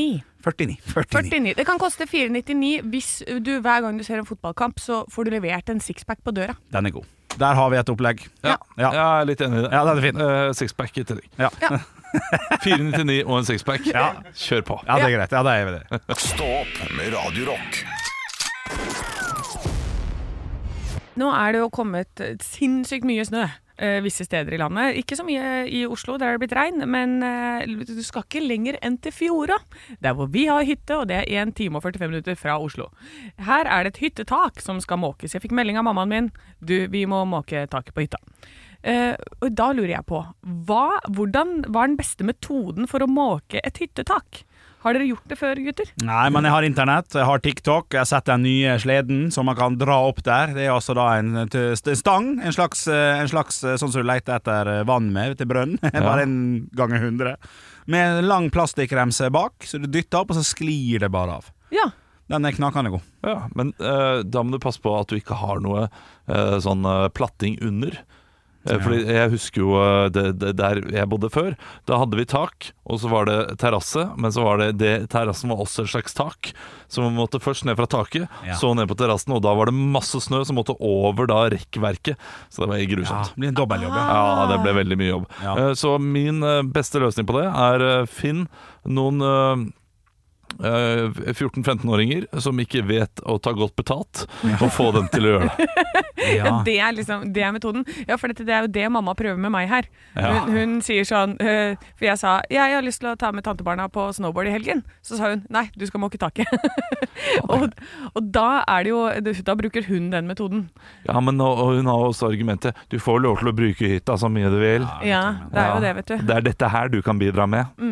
Speaker 4: 49. 49.
Speaker 3: 49. Det kan koste 499 hvis du hver gang du ser en fotballkamp, så får du levert en sixpack på døra.
Speaker 4: Den er god. Der har vi et opplegg.
Speaker 2: Ja,
Speaker 4: Ja.
Speaker 2: Jeg er litt enig i det.
Speaker 4: Ja, den er fin.
Speaker 2: Eh, sixpack i tillegg.
Speaker 4: Ja.
Speaker 2: 499 og en sixpack. Kjør på.
Speaker 4: Ja, det er greit. Ja, det er vi det.
Speaker 1: Stå opp med Radio Rock.
Speaker 3: Nå er det jo kommet sinnssykt mye snø eh, visse steder i landet. Ikke så mye i Oslo, der er det blitt regn, men eh, du skal ikke lenger enn til Fjorda. Der hvor vi har hytte, og det er 1 time og 45 minutter fra Oslo. Her er det et hyttetak som skal måkes. Jeg fikk melding av mammaen min. Du, vi må måke taket på hytta. Eh, og da lurer jeg på, hva, hvordan, hva er den beste metoden for å måke et hyttetak? Har dere gjort det før, gutter?
Speaker 4: Nei, men jeg har internett, jeg har TikTok, jeg har sett den nye sleden som man kan dra opp der. Det er altså da en t- st- stang, en slags, eh, en slags eh, sånn som du leter etter eh, vann med til brønn. Bare en ganger hundre. Med en lang plastikkremse bak, så du dytter opp, og så sklir det bare av.
Speaker 3: Ja.
Speaker 4: Den er knakende god.
Speaker 2: Ja, men eh, da må du passe på at du ikke har noe eh, sånn eh, platting under. Eh, Fordi Jeg husker jo eh, det, det, der jeg bodde før. Da hadde vi tak, og så var det terrasse. Men så var det, det terrassen var også et slags tak, så man måtte først ned fra taket,
Speaker 4: Ja.
Speaker 2: så ned på terrassen, og da var det masse snø som måtte over da rekkverket. Så det var
Speaker 4: Ja,
Speaker 2: grusomt.
Speaker 4: det blir en dobbeltjobb, ja.
Speaker 2: Ja, det ble veldig mye jobb.
Speaker 4: Ja.
Speaker 2: Eh, Så min eh, beste løsning på det er eh, finn noen eh, eh, 14-15-åringer som ikke vet å ta godt betalt, og få dem til å gjøre det.
Speaker 4: Ah, ja.
Speaker 3: Det er liksom, det er metoden. Ja, for dette, det er jo det mamma prøver med meg her.
Speaker 2: Ja.
Speaker 3: Hun, hun sier sånn eh, For jeg sa ja, jeg har lyst til å ta med tantebarna på snowboard i helgen. Så sa hun nei, du skal måke taket. og, og da er det jo Da bruker hun den metoden.
Speaker 2: Ja, men nå- og hun har også argumentet Du får lov til å bruke hytta så mye du vil.
Speaker 3: Ja, det er jo det, vet du.
Speaker 2: Det er dette her du kan bidra med.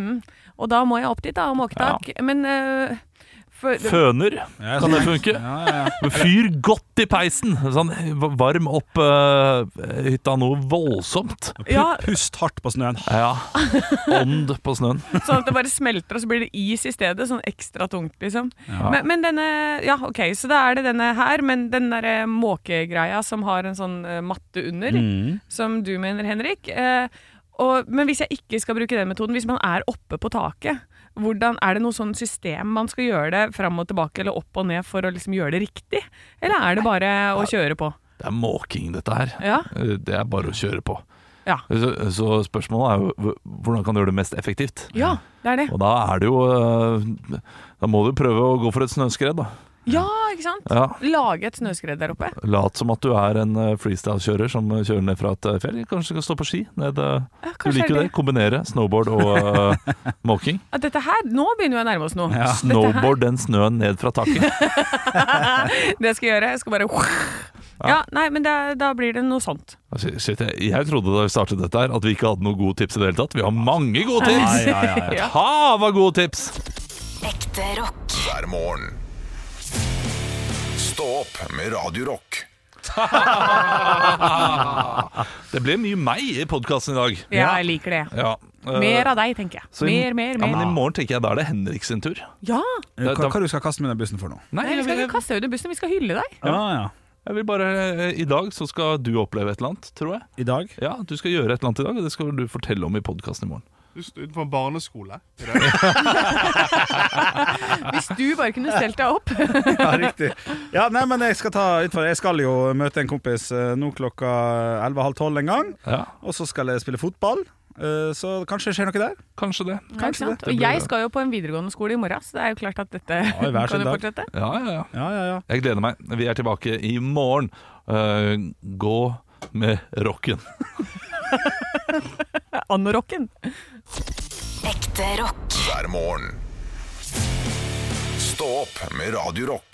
Speaker 3: Og da må jeg opp dit, da, og måke tak. Men eh, for,
Speaker 2: Føner,
Speaker 4: Ja,
Speaker 2: kan det funke?
Speaker 4: Ja, ja, ja.
Speaker 2: Fyr godt i peisen! Sånn, varm opp eh, hytta noe voldsomt.
Speaker 3: ja,
Speaker 4: Pust hardt på snøen.
Speaker 2: Ja. Ånd på snøen.
Speaker 3: Sånn at det bare smelter, og så blir det is i stedet. Sånn ekstra tungt, liksom. Men, men denne Ja, OK, så da er det denne her, men den derre måkegreia som har en sånn eh, matte under, som du mener, Henrik. Eh, og, men hvis jeg ikke skal bruke den metoden, hvis man er oppe på taket, hvordan, er det noe sånn system man skal gjøre det fram og tilbake eller opp og ned for å liksom gjøre det riktig? Eller er det bare å kjøre på?
Speaker 2: Det er måking, dette her.
Speaker 3: Ja.
Speaker 2: Eh, Det er bare å kjøre på.
Speaker 3: Ja.
Speaker 2: Så, så spørsmålet er jo hv- hvordan kan du gjøre det mest effektivt?
Speaker 3: Ja, det er det.
Speaker 2: Og da er det jo eh, Da må du prøve å gå for et snøskred, da.
Speaker 3: Ja, ikke sant?
Speaker 2: Ja.
Speaker 3: Lage et snøskred der oppe.
Speaker 2: Lat som at du er en eh, freestyle-kjører som eh, kjører ned fra et eh, fjell. Kanskje du kan stå på ski. Ned, eh,
Speaker 3: Ja,
Speaker 2: du
Speaker 3: kanskje
Speaker 2: liker jo det. Kombinere snowboard og eh, måking.
Speaker 3: At dette her, Nå begynner vi å nærme oss noe. Dette her-
Speaker 2: Snowboard den snøen ned fra taket.
Speaker 3: Det skal jeg gjøre. Jeg skal bare Ja, nei, men da, da blir det noe sånt.
Speaker 2: Altså, Shit, jeg, jeg trodde da vi startet dette her at vi ikke hadde noen gode tips i det hele tatt. Vi har mange gode tips!
Speaker 4: Ja, ja, ja.
Speaker 2: Et hav av gode tips!
Speaker 6: Ekte rock.
Speaker 1: hver morgen. Stå opp med Radio Rock.
Speaker 2: Det ble mye meg i podkasten i dag.
Speaker 3: Ja, jeg liker det.
Speaker 2: Ja. eh,
Speaker 3: Mer av deg, tenker jeg.
Speaker 2: så i-
Speaker 3: Mer, mer,
Speaker 2: Ja, men I
Speaker 3: mer.
Speaker 2: morgen tenker jeg da er det Henrik sin tur.
Speaker 3: Ja!
Speaker 4: Hva, hva du skal kaste med den bussen for nå?
Speaker 2: Nei,
Speaker 3: Nei, vi skal ikke kaste deg under bussen, vi skal hylle deg.
Speaker 4: Ja, ja.
Speaker 2: jeg vil bare, eh, I dag så skal du oppleve et eller annet, tror jeg.
Speaker 4: I dag?
Speaker 2: Ja, Du skal gjøre et eller annet i dag, og det skal du fortelle om i podkasten i morgen.
Speaker 5: Du står utenfor en barneskole.
Speaker 3: Hvis du bare kunne stelt deg opp.
Speaker 4: Ja, riktig. Ja, nei, men jeg skal ta utfor. Jeg skal jo møte en kompis eh, nå klokka 11.30 en gang.
Speaker 2: Ja,
Speaker 4: Og så skal jeg spille fotball. Eh, Så kanskje det skjer noe der.
Speaker 2: Kanskje det.
Speaker 3: Ja, ikke sant? Og
Speaker 2: Det blir
Speaker 3: jeg
Speaker 2: det.
Speaker 3: skal jo på en videregående skole i morgen, så det er jo klart at dette
Speaker 4: hver sin
Speaker 3: kan jo
Speaker 4: dag.
Speaker 3: fortsette.
Speaker 2: Ja, ja, ja.
Speaker 4: Ja, ja, ja.
Speaker 2: Jeg gleder meg. Vi er tilbake i morgen. Eh, gå med rocken.
Speaker 3: Anorocken.
Speaker 6: Ekte rock.
Speaker 1: hver morgen. Stå opp med Radio Rock.